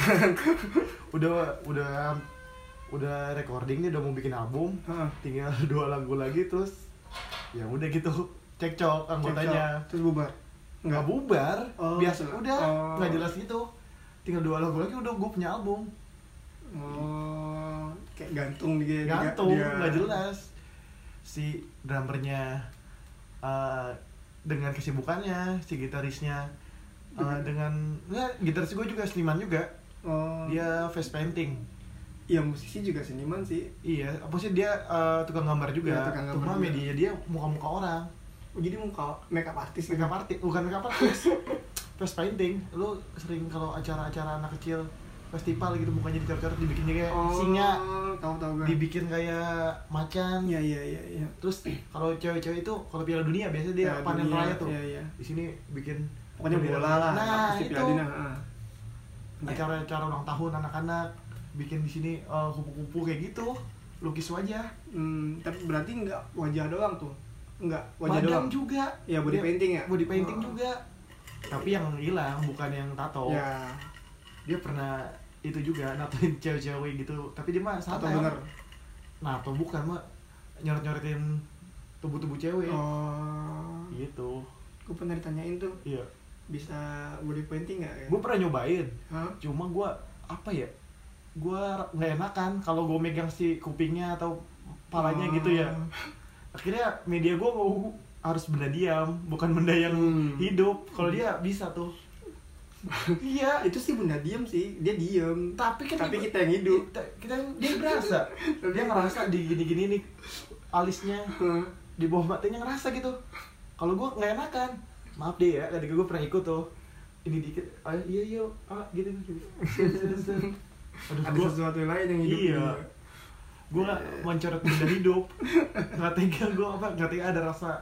Speaker 2: udah udah udah recording nih udah mau bikin album
Speaker 1: Heeh.
Speaker 2: tinggal dua lagu lagi terus ya udah gitu cekcok anggotanya
Speaker 1: Cekcok, terus bubar
Speaker 2: nggak
Speaker 1: nggak bu
Speaker 2: bubar
Speaker 1: Oh,
Speaker 2: biasa
Speaker 1: gitu.
Speaker 2: udah
Speaker 1: Oh.
Speaker 2: nggak jelas gitu tinggal dua lagu lagi udah gue punya album
Speaker 1: oh kayak gantung dia dia-
Speaker 2: gantung
Speaker 1: dia-
Speaker 2: nggak jelas si drummernya eh, dengan kesibukannya si gitarisnya eh, dengan nggak gitaris gue juga seniman juga
Speaker 1: oh
Speaker 2: dia face painting
Speaker 1: iya musisi juga seniman sih
Speaker 2: iya apa sih dia eh, tukang gambar juga
Speaker 1: Iya, tukang gambar
Speaker 2: cuma
Speaker 1: juga.
Speaker 2: media dia muka-muka orang
Speaker 1: Oh, jadi muka makeup artis gitu.
Speaker 2: makeup artist bukan makeup artist face painting lu sering kalau acara-acara anak kecil festival gitu mukanya dicoret-coret dibikinnya kayak
Speaker 1: oh
Speaker 2: singa
Speaker 1: tahu tahu gue
Speaker 2: dibikin kayak macan
Speaker 1: iya iya iya iya
Speaker 2: terus kalau cewek-cewek itu kalau piala dunia biasanya dia
Speaker 1: Piala
Speaker 2: panen
Speaker 1: dunia,
Speaker 2: raya tuh
Speaker 1: iya, iya.
Speaker 2: di sini bikin
Speaker 1: pokoknya
Speaker 2: bendera.
Speaker 1: bola lah
Speaker 2: nah
Speaker 1: pasti
Speaker 2: itu
Speaker 1: Piala Dunia, heeh. Iya.
Speaker 2: acara-acara ulang tahun anak-anak bikin di sini eh, kupu-kupu kayak gitu lukis wajah
Speaker 1: Hmm, tapi berarti nggak wajah doang tuh nggak wajah doang
Speaker 2: badan juga
Speaker 1: Iya, body
Speaker 2: Dia-
Speaker 1: painting ya?
Speaker 2: body painting
Speaker 1: Oh.
Speaker 2: juga tapi yang hilang bukan yang tato
Speaker 1: ya
Speaker 2: dia pernah itu juga natoin cewek-cewek gitu tapi dia mah
Speaker 1: atau
Speaker 2: santai
Speaker 1: bener
Speaker 2: nato bukan mah nyoret-nyoretin tubuh-tubuh
Speaker 1: Iya.
Speaker 2: cewek
Speaker 1: oh
Speaker 2: gitu
Speaker 1: gue pernah ditanyain tuh
Speaker 2: iya
Speaker 1: bisa body painting nggak ya
Speaker 2: gue pernah nyobain
Speaker 1: Hah?
Speaker 2: cuma gue apa ya gue nggak enakan kalau gue megang si kupingnya atau palanya
Speaker 1: Oh.
Speaker 2: gitu ya akhirnya media gue mau harus benda diam bukan benda yang
Speaker 1: Hmm.
Speaker 2: hidup kalau dia bisa tuh iya
Speaker 1: itu sih bunda diem sih dia diem
Speaker 2: tapi kan
Speaker 1: tapi
Speaker 2: dia-
Speaker 1: kita yang hidup
Speaker 2: kita, kita dia berasa dia ngerasa di gini gini nih alisnya
Speaker 1: Hah?
Speaker 2: di bawah matanya ngerasa gitu kalau gue nggak enakan maaf deh ya tadi gue pernah ikut tuh ini dikit ah iya iya ah gitu gitu Set, set, set. aduh
Speaker 1: ada
Speaker 2: gue
Speaker 1: sesuatu lain yang hidup
Speaker 2: Iya.
Speaker 1: juga.
Speaker 2: gue
Speaker 1: Iya.
Speaker 2: mencoret benda hidup nggak tega gue apa nggak tega ada rasa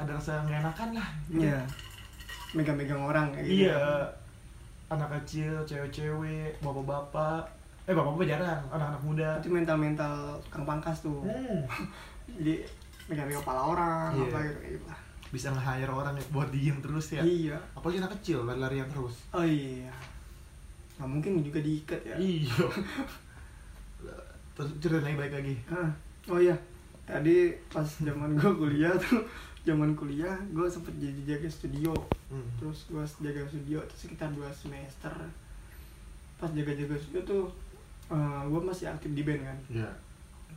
Speaker 2: ada rasa nggak enakan lah gitu.
Speaker 1: iya megang-megang orang kayak gitu
Speaker 2: iya anak kecil cewek-cewek bapak-bapak eh bapak-bapak jarang anak-anak muda
Speaker 1: itu mental-mental tukang pangkas tuh
Speaker 2: Hmm.
Speaker 1: jadi megang-megang kepala orang
Speaker 2: Iya.
Speaker 1: apa gitu kayak gitu lah.
Speaker 2: bisa nge-hire orang ya buat diem terus ya
Speaker 1: iya
Speaker 2: apalagi anak kecil lari-larian terus
Speaker 1: oh iya nggak mungkin juga diikat ya
Speaker 2: iya terus cerita lagi balik lagi
Speaker 1: Ah, oh iya tadi pas zaman gue kuliah tuh zaman kuliah gue sempet jadi jaga studio
Speaker 2: Hmm.
Speaker 1: terus gue jaga studio itu sekitar 2 semester pas jaga-jaga studio tuh gue masih aktif di band kan
Speaker 2: ya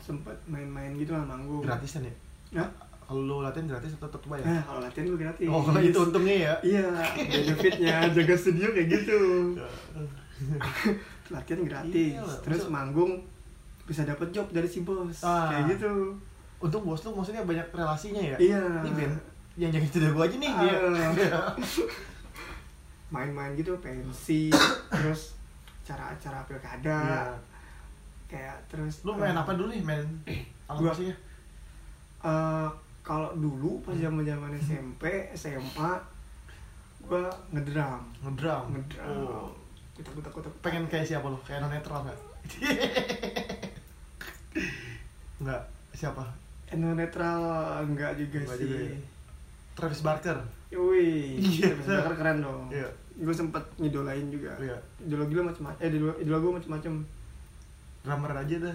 Speaker 1: sempet main-main gitu lah manggung
Speaker 2: gratisan ya
Speaker 1: Hah?
Speaker 2: kalau lo latihan gratis atau tetap bayar
Speaker 1: nah kalau latihan gue gratis
Speaker 2: Iya. oh kalau itu untungnya ya
Speaker 1: iya benefitnya jaga studio kayak gitu latihan gratis
Speaker 2: Iya,
Speaker 1: terus
Speaker 2: maksud-
Speaker 1: manggung bisa dapat job dari si bos
Speaker 2: Ah.
Speaker 1: kayak gitu
Speaker 2: untung bos lo maksudnya banyak relasinya ya
Speaker 1: Iya.
Speaker 2: ini Ben yang jaga cerita gue aja nih Iya. dia
Speaker 1: Ah. main-main gitu pensi terus acara-acara pilkada
Speaker 2: Iya.
Speaker 1: kayak terus
Speaker 2: lo main
Speaker 1: eh,
Speaker 2: apa dulu nih main alat
Speaker 1: Gua-
Speaker 2: musiknya
Speaker 1: eh, kalau dulu
Speaker 2: Hmm.
Speaker 1: pas zaman zaman SMP SMA gua ngedram
Speaker 2: ngedrum
Speaker 1: ngedram
Speaker 2: Oh.
Speaker 1: kita kita
Speaker 2: pengen kayak siapa lo kayak non netral nggak nggak siapa
Speaker 1: Anu netral enggak juga
Speaker 2: Enggak
Speaker 1: sih
Speaker 2: juga Travis Barker
Speaker 1: Wih,
Speaker 2: Iya.
Speaker 1: Travis Barker keren dong.
Speaker 2: Iya.
Speaker 1: Gue sempet ngidolain juga.
Speaker 2: Iya.
Speaker 1: Idola gue macam-macam. Eh, idola, idola gue macam-macam.
Speaker 2: drummer aja dah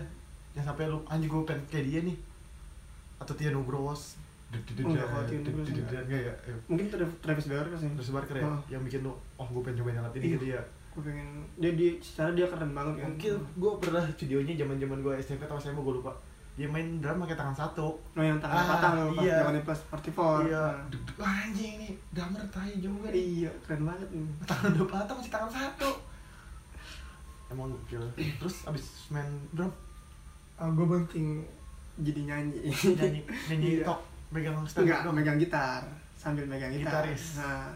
Speaker 2: yang sampai lu anjing gue pengen kayak dia nih atau Tia Nugros
Speaker 1: Enggak, kalau Tia Nugros enggak.
Speaker 2: enggak ya ayo.
Speaker 1: Mungkin Tra- Travis Barker sih.
Speaker 2: Travis Barker ya
Speaker 1: Oh.
Speaker 2: yang bikin lu oh gue pengen cobain alat ini
Speaker 1: Iya.
Speaker 2: gitu ya
Speaker 1: gue pengen dia di secara dia keren banget kan
Speaker 2: mungkin gue pernah videonya zaman zaman gue SMP atau SMA gue lupa dia main drum pakai tangan satu
Speaker 1: no yang tangan
Speaker 2: Ah,
Speaker 1: patah loh pas
Speaker 2: iya.
Speaker 1: zamannya pas 44
Speaker 2: iya
Speaker 1: Nah.
Speaker 2: Deg- deg- wah, anjing nih drummer tai juga nih
Speaker 1: iya keren banget nih
Speaker 2: tangan udah patah masih tangan satu emang gokil terus abis main drum Ah,
Speaker 1: gue penting jadi nyanyi
Speaker 2: nyanyi nyanyi
Speaker 1: Iya.
Speaker 2: tok megang stand
Speaker 1: enggak
Speaker 2: up dong
Speaker 1: megang gitar sambil megang gitar
Speaker 2: Gitaris.
Speaker 1: nah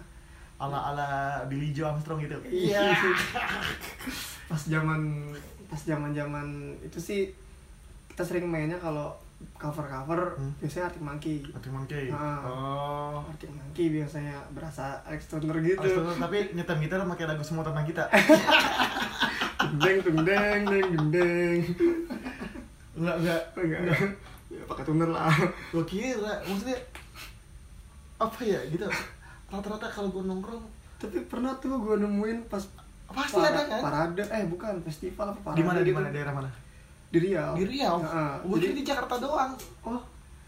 Speaker 2: ala ala Billy Joe Armstrong gitu
Speaker 1: iya pas zaman pas zaman zaman itu sih kita sering mainnya kalau cover cover
Speaker 2: Hmm.
Speaker 1: biasanya Arctic Monkey
Speaker 2: Arctic Monkey.
Speaker 1: Ah.
Speaker 2: Oh.
Speaker 1: Arctic Monkey biasanya berasa Alex Turner gitu
Speaker 2: Abis itu, tapi nyetem gitar pakai lagu semua tentang kita.
Speaker 1: deng deng deng deng deng deng
Speaker 2: Enggak, enggak.
Speaker 1: enggak enggak. ya pakai tuner lah
Speaker 2: Gua kira maksudnya apa ya gitu. Rata-rata kalau gua nongkrong
Speaker 1: tapi pernah tuh gue nemuin pas
Speaker 2: pasti
Speaker 1: para-
Speaker 2: ada kan?
Speaker 1: parade eh bukan festival apa parade
Speaker 2: Di mana di
Speaker 1: gitu.
Speaker 2: mana daerah mana?
Speaker 1: di Riau
Speaker 2: Di Riau. Oh,
Speaker 1: Heeh.
Speaker 2: Gua
Speaker 1: Ah. Jadi-
Speaker 2: kira di Jakarta doang.
Speaker 1: oh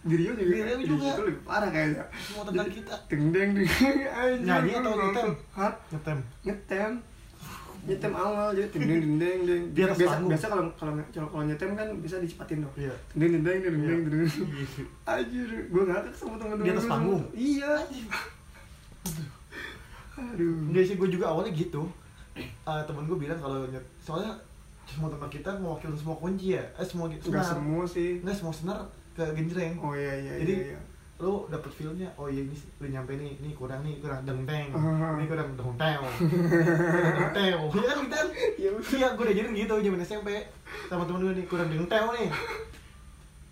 Speaker 1: di Riau juga
Speaker 2: Di Riau
Speaker 1: Di
Speaker 2: juga.
Speaker 1: itu lebih parah kayaknya
Speaker 2: Semua tentang
Speaker 1: Jadi,
Speaker 2: kita.
Speaker 1: deng deng deng anjing,
Speaker 2: Nyanyi
Speaker 1: gua
Speaker 2: atau
Speaker 1: nonton.
Speaker 2: nyetem?
Speaker 1: Hah?
Speaker 2: Nyetem.
Speaker 1: nyetem nyetem awal jadi deng deng deng deng
Speaker 2: Di atas
Speaker 1: biasa
Speaker 2: panggung.
Speaker 1: biasa kalau kalau kalau nyetem kan bisa dicepatin dong
Speaker 2: Iya.
Speaker 1: deng deng deng deng deng deng deng
Speaker 2: Iya.
Speaker 1: Anjir, gue ngakak sama temen-temen
Speaker 2: Di atas
Speaker 1: gua.
Speaker 2: panggung?
Speaker 1: Iya Aduh
Speaker 2: Enggak sih, gue juga awalnya gitu. Eh temen gue bilang kalau nyet, soalnya semua teman kita mewakili semua kunci ya, eh semua gitu.
Speaker 1: Gak semua sih
Speaker 2: Enggak semua senar ke genjreng.
Speaker 1: Oh iya iya
Speaker 2: Jadi,
Speaker 1: iya, iya.
Speaker 2: Lu dapet feelnya, oh iya ini sih, lu nyampe nih, ini kurang nih, kurang denteng,
Speaker 1: Ah.
Speaker 2: ini kurang denteng, denteng. Iya kan gitu kan?
Speaker 1: Iya betul
Speaker 2: Iya, gue diajarin gitu zaman SMP sama temen gue nih, kurang denteng nih.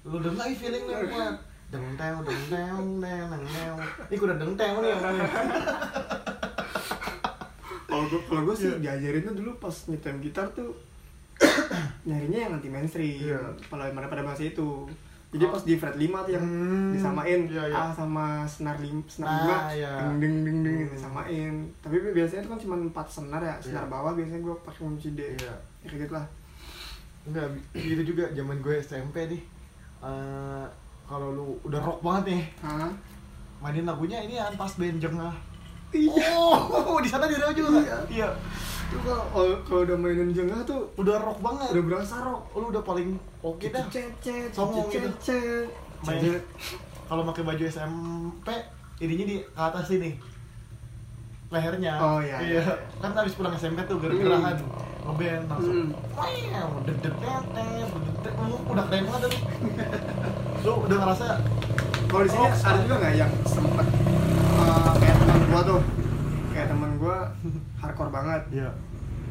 Speaker 2: Lu denger lagi feeling nih, gue denteng, denteng, neng, neng, neng. Ini kurang denteng nih orangnya.
Speaker 1: Kalau gue kalau gue sih
Speaker 2: Iya.
Speaker 1: diajarin tuh dulu pas nyetem gitar tuh Nyarinya yang anti mainstream
Speaker 2: Iya.
Speaker 1: Kalau yang pada bahasa itu Jadi pas di fret 5 tuh yang
Speaker 2: Hmm.
Speaker 1: disamain
Speaker 2: Iya, iya.
Speaker 1: A sama senar lim senar
Speaker 2: Ah,
Speaker 1: dua
Speaker 2: iya.
Speaker 1: deng deng deng deng
Speaker 2: Hmm.
Speaker 1: gitu, disamain tapi biasanya itu kan cuma empat senar ya senar
Speaker 2: Iya.
Speaker 1: bawah biasanya gue pakai kunci D
Speaker 2: Iya.
Speaker 1: ya kayak gitu lah
Speaker 2: Enggak, gitu juga zaman gue SMP nih. Eh kalau lu udah rock banget nih,
Speaker 1: Hah?
Speaker 2: mainin lagunya ini kan pas band jengah.
Speaker 1: iya
Speaker 2: Oh, di sana di Riau juga.
Speaker 1: Iya.
Speaker 2: Iya.
Speaker 1: Lu kalau kalau udah mainin jengah tuh
Speaker 2: Udah rock banget.
Speaker 1: udah Gitu, berasa rock.
Speaker 2: lu udah paling oke dah.
Speaker 1: Cecet,
Speaker 2: Songong gitu.
Speaker 1: cecet.
Speaker 2: Main.
Speaker 1: Cecet.
Speaker 2: Kalau pakai baju SMP, ininya di ke atas sini. Lehernya.
Speaker 1: Oh, iya, iya, iya.
Speaker 2: Kan habis pulang SMP tuh gerah-gerahan. Ngeband
Speaker 1: Hmm.
Speaker 2: langsung. Wow, dedek udah keren banget tuh. Lu udah ngerasa
Speaker 1: Kalau di sini
Speaker 2: Rock
Speaker 1: ada
Speaker 2: star.
Speaker 1: juga nggak yang sempet eh, kayak teman gua tuh, kayak teman gua hardcore banget.
Speaker 2: Iya.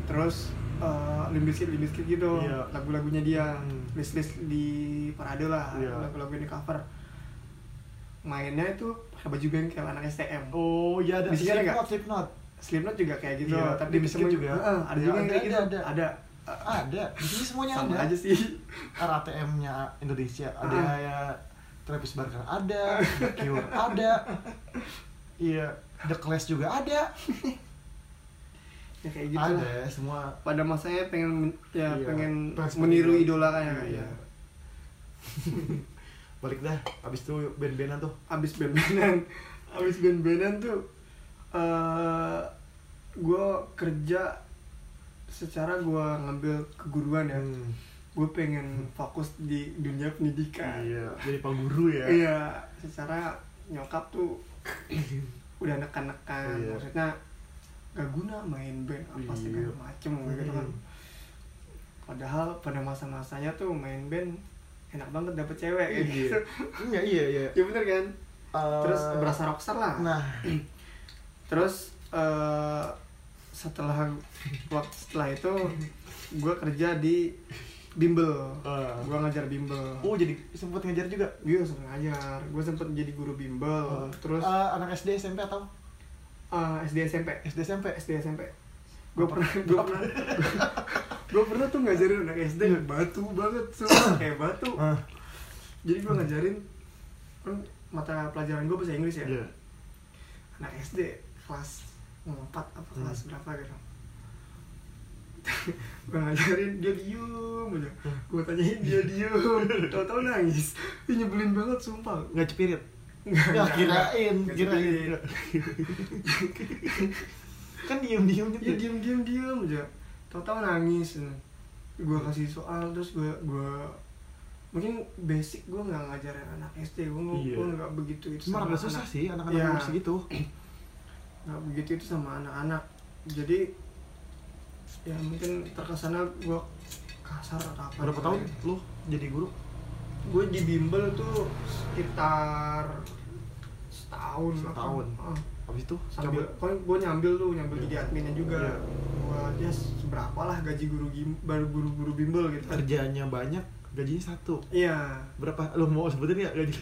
Speaker 1: Terus eh limbiskit limbiskit gitu
Speaker 2: Iya.
Speaker 1: lagu-lagunya dia
Speaker 2: Hmm.
Speaker 1: list list di parade lah
Speaker 2: Iya.
Speaker 1: lagu-lagu yang di cover mainnya itu pakai baju bengkel anak STM
Speaker 2: Oh iya ada
Speaker 1: Di sini ada nggak?
Speaker 2: Slipknot, Slipknot.
Speaker 1: Slipknot juga kayak gitu
Speaker 2: Iya,
Speaker 1: tapi
Speaker 2: Limp Bizkit
Speaker 1: disebut-
Speaker 2: juga.
Speaker 1: Heeh, ada
Speaker 2: Iya,
Speaker 1: juga yang
Speaker 2: ada,
Speaker 1: kayak gitu
Speaker 2: ada, ada.
Speaker 1: ada
Speaker 2: Ada. Di sini semuanya
Speaker 1: sama
Speaker 2: ada.
Speaker 1: aja sih
Speaker 2: RATM-nya Indonesia ada
Speaker 1: Ah.
Speaker 2: ya Travis Barker ada, The Cure ada. Iya, The Clash juga ada.
Speaker 1: ya kayak gitu
Speaker 2: ada
Speaker 1: lah.
Speaker 2: semua
Speaker 1: pada masanya pengen men- ya
Speaker 2: Iya,
Speaker 1: pengen
Speaker 2: pengen seperti
Speaker 1: meniru
Speaker 2: itu.
Speaker 1: idola kayak
Speaker 2: Iya.
Speaker 1: ya.
Speaker 2: Balik dah, abis itu band-bandan tuh
Speaker 1: abis band-bandan abis band-bandan tuh eh gue kerja secara gue ngambil keguruan ya
Speaker 2: Hmm,
Speaker 1: gue pengen fokus di dunia pendidikan
Speaker 2: Iya, jadi pangguru ya
Speaker 1: Kan. Iya, secara nyokap tuh udah nekan-nekan
Speaker 2: Iya.
Speaker 1: maksudnya gak guna main band apa segala
Speaker 2: Iya.
Speaker 1: macem gitu kan
Speaker 2: Hmm.
Speaker 1: padahal pada masa-masanya tuh main band enak banget dapet cewek kayak
Speaker 2: Iya,
Speaker 1: gitu
Speaker 2: iya, iya, iya.
Speaker 1: ya bener kan
Speaker 2: Eh,
Speaker 1: terus berasa rockstar lah
Speaker 2: Nah,
Speaker 1: terus eh, setelah waktu setelah itu gue kerja di bimbel
Speaker 2: eh,
Speaker 1: gue ngajar bimbel
Speaker 2: oh jadi sempet ngejar juga
Speaker 1: gue sempet ngajar gue sempet jadi guru bimbel terus
Speaker 2: Eh, anak SD SMP atau
Speaker 1: eh, SD SMP
Speaker 2: SD SMP
Speaker 1: SD SMP gue pernah gue pernah gue pernah tuh ngajarin anak SD Iya, batu banget sumpah kayak batu
Speaker 2: Ah,
Speaker 1: jadi gue ngajarin kan mata pelajaran gue bahasa Inggris ya
Speaker 2: iya.
Speaker 1: anak SD kelas 4 apa
Speaker 2: Hmm.
Speaker 1: kelas berapa gitu gue ngajarin dia diem aja
Speaker 2: Hmm.
Speaker 1: gue tanyain dia diem tau-tau nangis Ih, nyebelin banget sumpah
Speaker 2: nggak cepirit
Speaker 1: Nggak,
Speaker 2: ya
Speaker 1: nggak,
Speaker 2: kirain
Speaker 1: nggak
Speaker 2: kirain kan diem diem
Speaker 1: Iya
Speaker 2: gitu
Speaker 1: diem diem diem aja. Tahu-tahu nangis. Gue kasih soal terus gue gua mungkin basic gue nggak ngajarin anak SD gue
Speaker 2: Iya.
Speaker 1: gue nggak begitu itu
Speaker 2: cuma
Speaker 1: sama
Speaker 2: agak susah
Speaker 1: anak-
Speaker 2: sih anak-anak gitu.
Speaker 1: Iya.
Speaker 2: umur segitu
Speaker 1: nggak Nah, begitu itu sama anak-anak jadi ya mungkin terkesana gue kasar atau apa
Speaker 2: berapa tahun
Speaker 1: iya.
Speaker 2: lu jadi guru
Speaker 1: gue di bimbel tuh sekitar setahun apa.
Speaker 2: Setahun.
Speaker 1: Ah.
Speaker 2: habis itu
Speaker 1: sambil
Speaker 2: cabut.
Speaker 1: kan gue nyambil tuh nyambil
Speaker 2: Iya.
Speaker 1: jadi adminnya juga
Speaker 2: Iya.
Speaker 1: gua ya seberapa lah gaji guru gim baru guru guru bimbel gitu
Speaker 2: kerjanya banyak gajinya satu
Speaker 1: iya
Speaker 2: berapa lo mau sebutin nggak gaji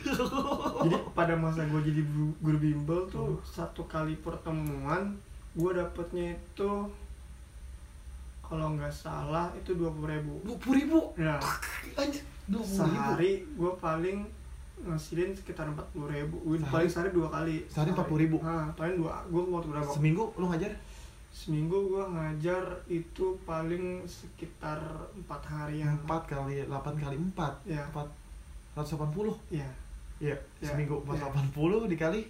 Speaker 1: jadi pada masa gue jadi guru, guru bimbel tuh
Speaker 2: Hmm.
Speaker 1: satu kali pertemuan gue dapetnya itu kalau nggak salah itu dua puluh ribu
Speaker 2: dua puluh ribu
Speaker 1: nah
Speaker 2: anjir dua puluh ribu
Speaker 1: sehari gue paling ngasilin sekitar empat puluh ribu gue
Speaker 2: Sehari?
Speaker 1: paling sehari dua kali
Speaker 2: Sehari 40.000?
Speaker 1: Nah, paling dua gue waktu berapa
Speaker 2: seminggu lo ngajar
Speaker 1: seminggu gue ngajar itu paling sekitar empat harian
Speaker 2: empat kali delapan kali empat
Speaker 1: Iya.
Speaker 2: empat ratus delapan puluh
Speaker 1: ya
Speaker 2: Iya,
Speaker 1: Iya,
Speaker 2: seminggu pas
Speaker 1: iya.
Speaker 2: 80 dikali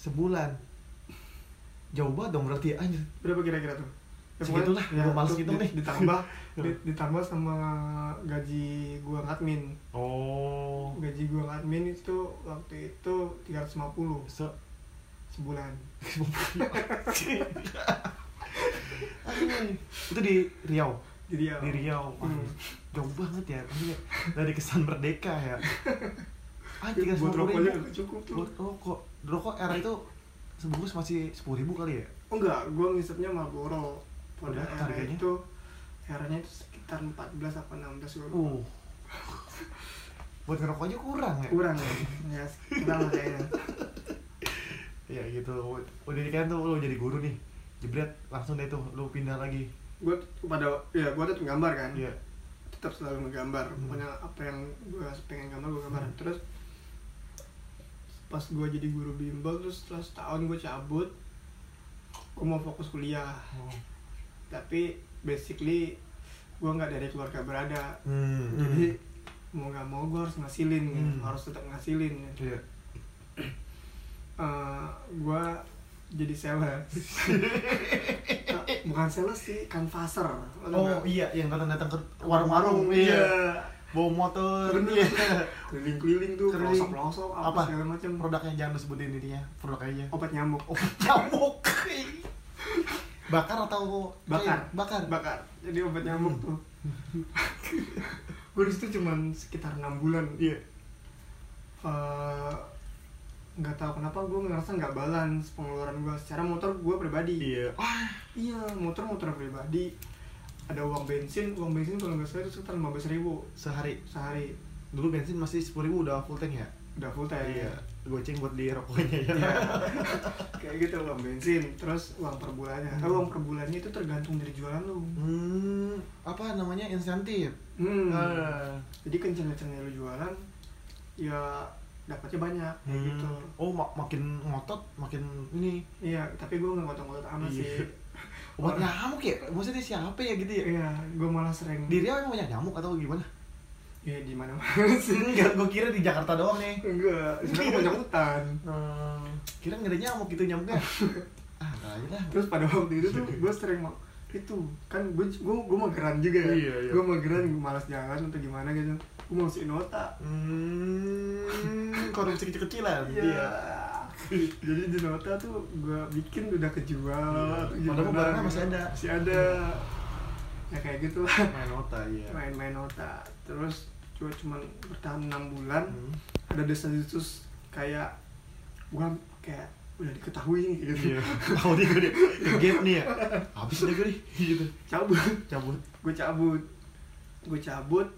Speaker 2: sebulan. Jauh banget dong berarti ya, anjir.
Speaker 1: berapa kira-kira tuh Ya,
Speaker 2: Segitulah,
Speaker 1: pokoknya-
Speaker 2: gua gitu males
Speaker 1: terus
Speaker 2: ngitung
Speaker 1: di-
Speaker 2: deh.
Speaker 1: ditambah di- ditambah sama gaji gua admin
Speaker 2: Oh.
Speaker 1: gaji gua admin itu waktu itu 350
Speaker 2: Se
Speaker 1: sebulan
Speaker 2: Anjir. Itu di Riau,
Speaker 1: jadi ya
Speaker 2: di Riau. Anjir.
Speaker 1: Hmm.
Speaker 2: Jauh banget ya, anjir. Dari kesan merdeka ya. Ah, Anjir,
Speaker 1: buat
Speaker 2: 350
Speaker 1: rokoknya
Speaker 2: ribu.
Speaker 1: nggak cukup tuh
Speaker 2: Buat rokok. Rokok era itu sebungkus masih 10 ribu kali ya?
Speaker 1: oh enggak gua ngisepnya Marlboro pada
Speaker 2: Udah,
Speaker 1: era
Speaker 2: harganya?
Speaker 1: itu eranya itu sekitar 14 apa 16 gua lupa.
Speaker 2: Uh. Buat ngerokok aja kurang ya?
Speaker 1: kurang ya ya sekitar lah kayaknya
Speaker 2: Ya gitu, udah di kan tuh lu jadi guru nih Jebret, langsung deh tuh lu pindah lagi
Speaker 1: gua tuh pada ya gua tuh penggambar kan
Speaker 2: Iya
Speaker 1: tetap selalu menggambar
Speaker 2: Hmm.
Speaker 1: pokoknya apa yang gue pengen gambar gue gambar
Speaker 2: Hmm.
Speaker 1: terus pas gue jadi guru bimbel terus setelah setahun gue cabut gue mau fokus kuliah
Speaker 2: Oh.
Speaker 1: tapi basically gue nggak dari keluarga berada
Speaker 2: hmm.
Speaker 1: jadi mau nggak mau gue harus ngasilin gitu.
Speaker 2: Hmm.
Speaker 1: harus tetap ngasilin gitu.
Speaker 2: Iya
Speaker 1: Eh, gue jadi sales bukan sales sih kanvaser Lo tau
Speaker 2: Oh
Speaker 1: nggak?
Speaker 2: iya, yang kadang datang ke warung-warung Iya
Speaker 1: iya
Speaker 2: Bawa motor Iya.
Speaker 1: Bener. keliling-keliling tuh
Speaker 2: Keliling.
Speaker 1: pelosok-pelosok apa,
Speaker 2: Apa?
Speaker 1: segala macam
Speaker 2: Produknya jangan lu sebutin intinya Produk aja
Speaker 1: obat nyamuk
Speaker 2: Obat nyamuk Bakar atau
Speaker 1: Bakar.
Speaker 2: Bakar
Speaker 1: bakar jadi obat nyamuk
Speaker 2: Hmm.
Speaker 1: tuh gue disitu cuman sekitar enam bulan
Speaker 2: Iya
Speaker 1: Eh, nggak tahu kenapa gue ngerasa nggak balance pengeluaran gue secara motor gue pribadi
Speaker 2: Iya
Speaker 1: iya motor motor pribadi ada uang bensin uang bensin kalau nggak salah itu sekitar lima ribu
Speaker 2: Sehari
Speaker 1: sehari
Speaker 2: Dulu bensin masih 10 ribu udah full tank ya?
Speaker 1: udah full tank
Speaker 2: Goceng buat di rokoknya ya
Speaker 1: Iya. kayak gitu uang bensin terus uang per bulannya Eh, uang per bulannya itu tergantung dari jualan lu
Speaker 2: Hmm, apa namanya insentif?
Speaker 1: Hmm.
Speaker 2: Ah.
Speaker 1: Jadi kenceng-kencengnya lu jualan, ya dapatnya banyak kayak
Speaker 2: Hmm.
Speaker 1: gitu.
Speaker 2: Oh, mak- makin ngotot, makin ini
Speaker 1: Iya, tapi gue nggak ngotong-ngotong amat
Speaker 2: Iya.
Speaker 1: sih.
Speaker 2: obat
Speaker 1: Orang-
Speaker 2: nyamuk ya? Maksudnya siapa ya gitu ya?
Speaker 1: Iya, gue malah sering
Speaker 2: Di Riau emang banyak nyamuk atau gimana?
Speaker 1: ya di mana-mana sih.
Speaker 2: Enggak, gue kira di Jakarta doang nih.
Speaker 1: Enggak, sebenarnya banyak hutan.
Speaker 2: Hmm, kira nggak ada nyamuk gitu nyamuknya? ah, nggak aja lah.
Speaker 1: Terus pada waktu itu tuh gue sering mau itu kan gue gue gue mageran juga ya
Speaker 2: Iya, iya.
Speaker 1: gue mageran malas jalan atau gimana gitu gue mau si nota
Speaker 2: Hmm, korupsi kecil-kecilan.
Speaker 1: iya jadi di nota tuh gue bikin udah kejual
Speaker 2: Iya.
Speaker 1: atau
Speaker 2: Padahal
Speaker 1: gimana,
Speaker 2: barangnya
Speaker 1: gitu.
Speaker 2: masih ada. Hmm.
Speaker 1: masih ada ya kayak gitu lah
Speaker 2: Main nota, iya.
Speaker 1: main-main nota terus cuma cuman bertahan enam bulan
Speaker 2: Hmm.
Speaker 1: ada desas-desus kayak bukan kayak udah diketahui nih gitu
Speaker 2: Iya. Tahu dia gue deh. Gap nih ya. Habis deh gue deh. Gitu.
Speaker 1: cabut
Speaker 2: Cabut.
Speaker 1: gue cabut gue cabut